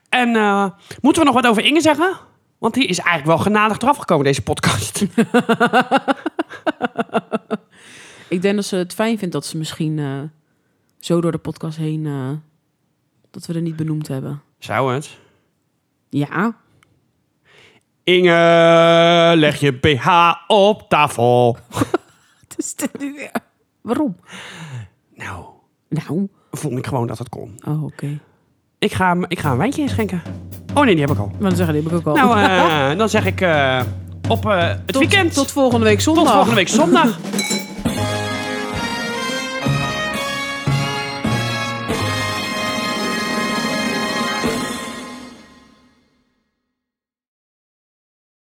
En eh, moeten we nog wat over Inge zeggen? Want die is eigenlijk wel genadig eraf gekomen, deze podcast. Ik denk dat ze het fijn vindt dat ze misschien eh, zo door de podcast heen... eh, dat we er niet benoemd hebben. Zou het? Ja, Inge, leg je BH op tafel. het is dit nu weer. Waarom? Nou, Nou, vond ik gewoon dat het kon. oh, oké. Ik ga, hem- ik ga een wijntje inschenken. Oh nee, die heb ik al. Maar dan zeggen die heb ik ook al. Nou, eh, dan zeg ik eh, op eh, het tot, weekend. Tot volgende week zondag. Tot volgende week zondag.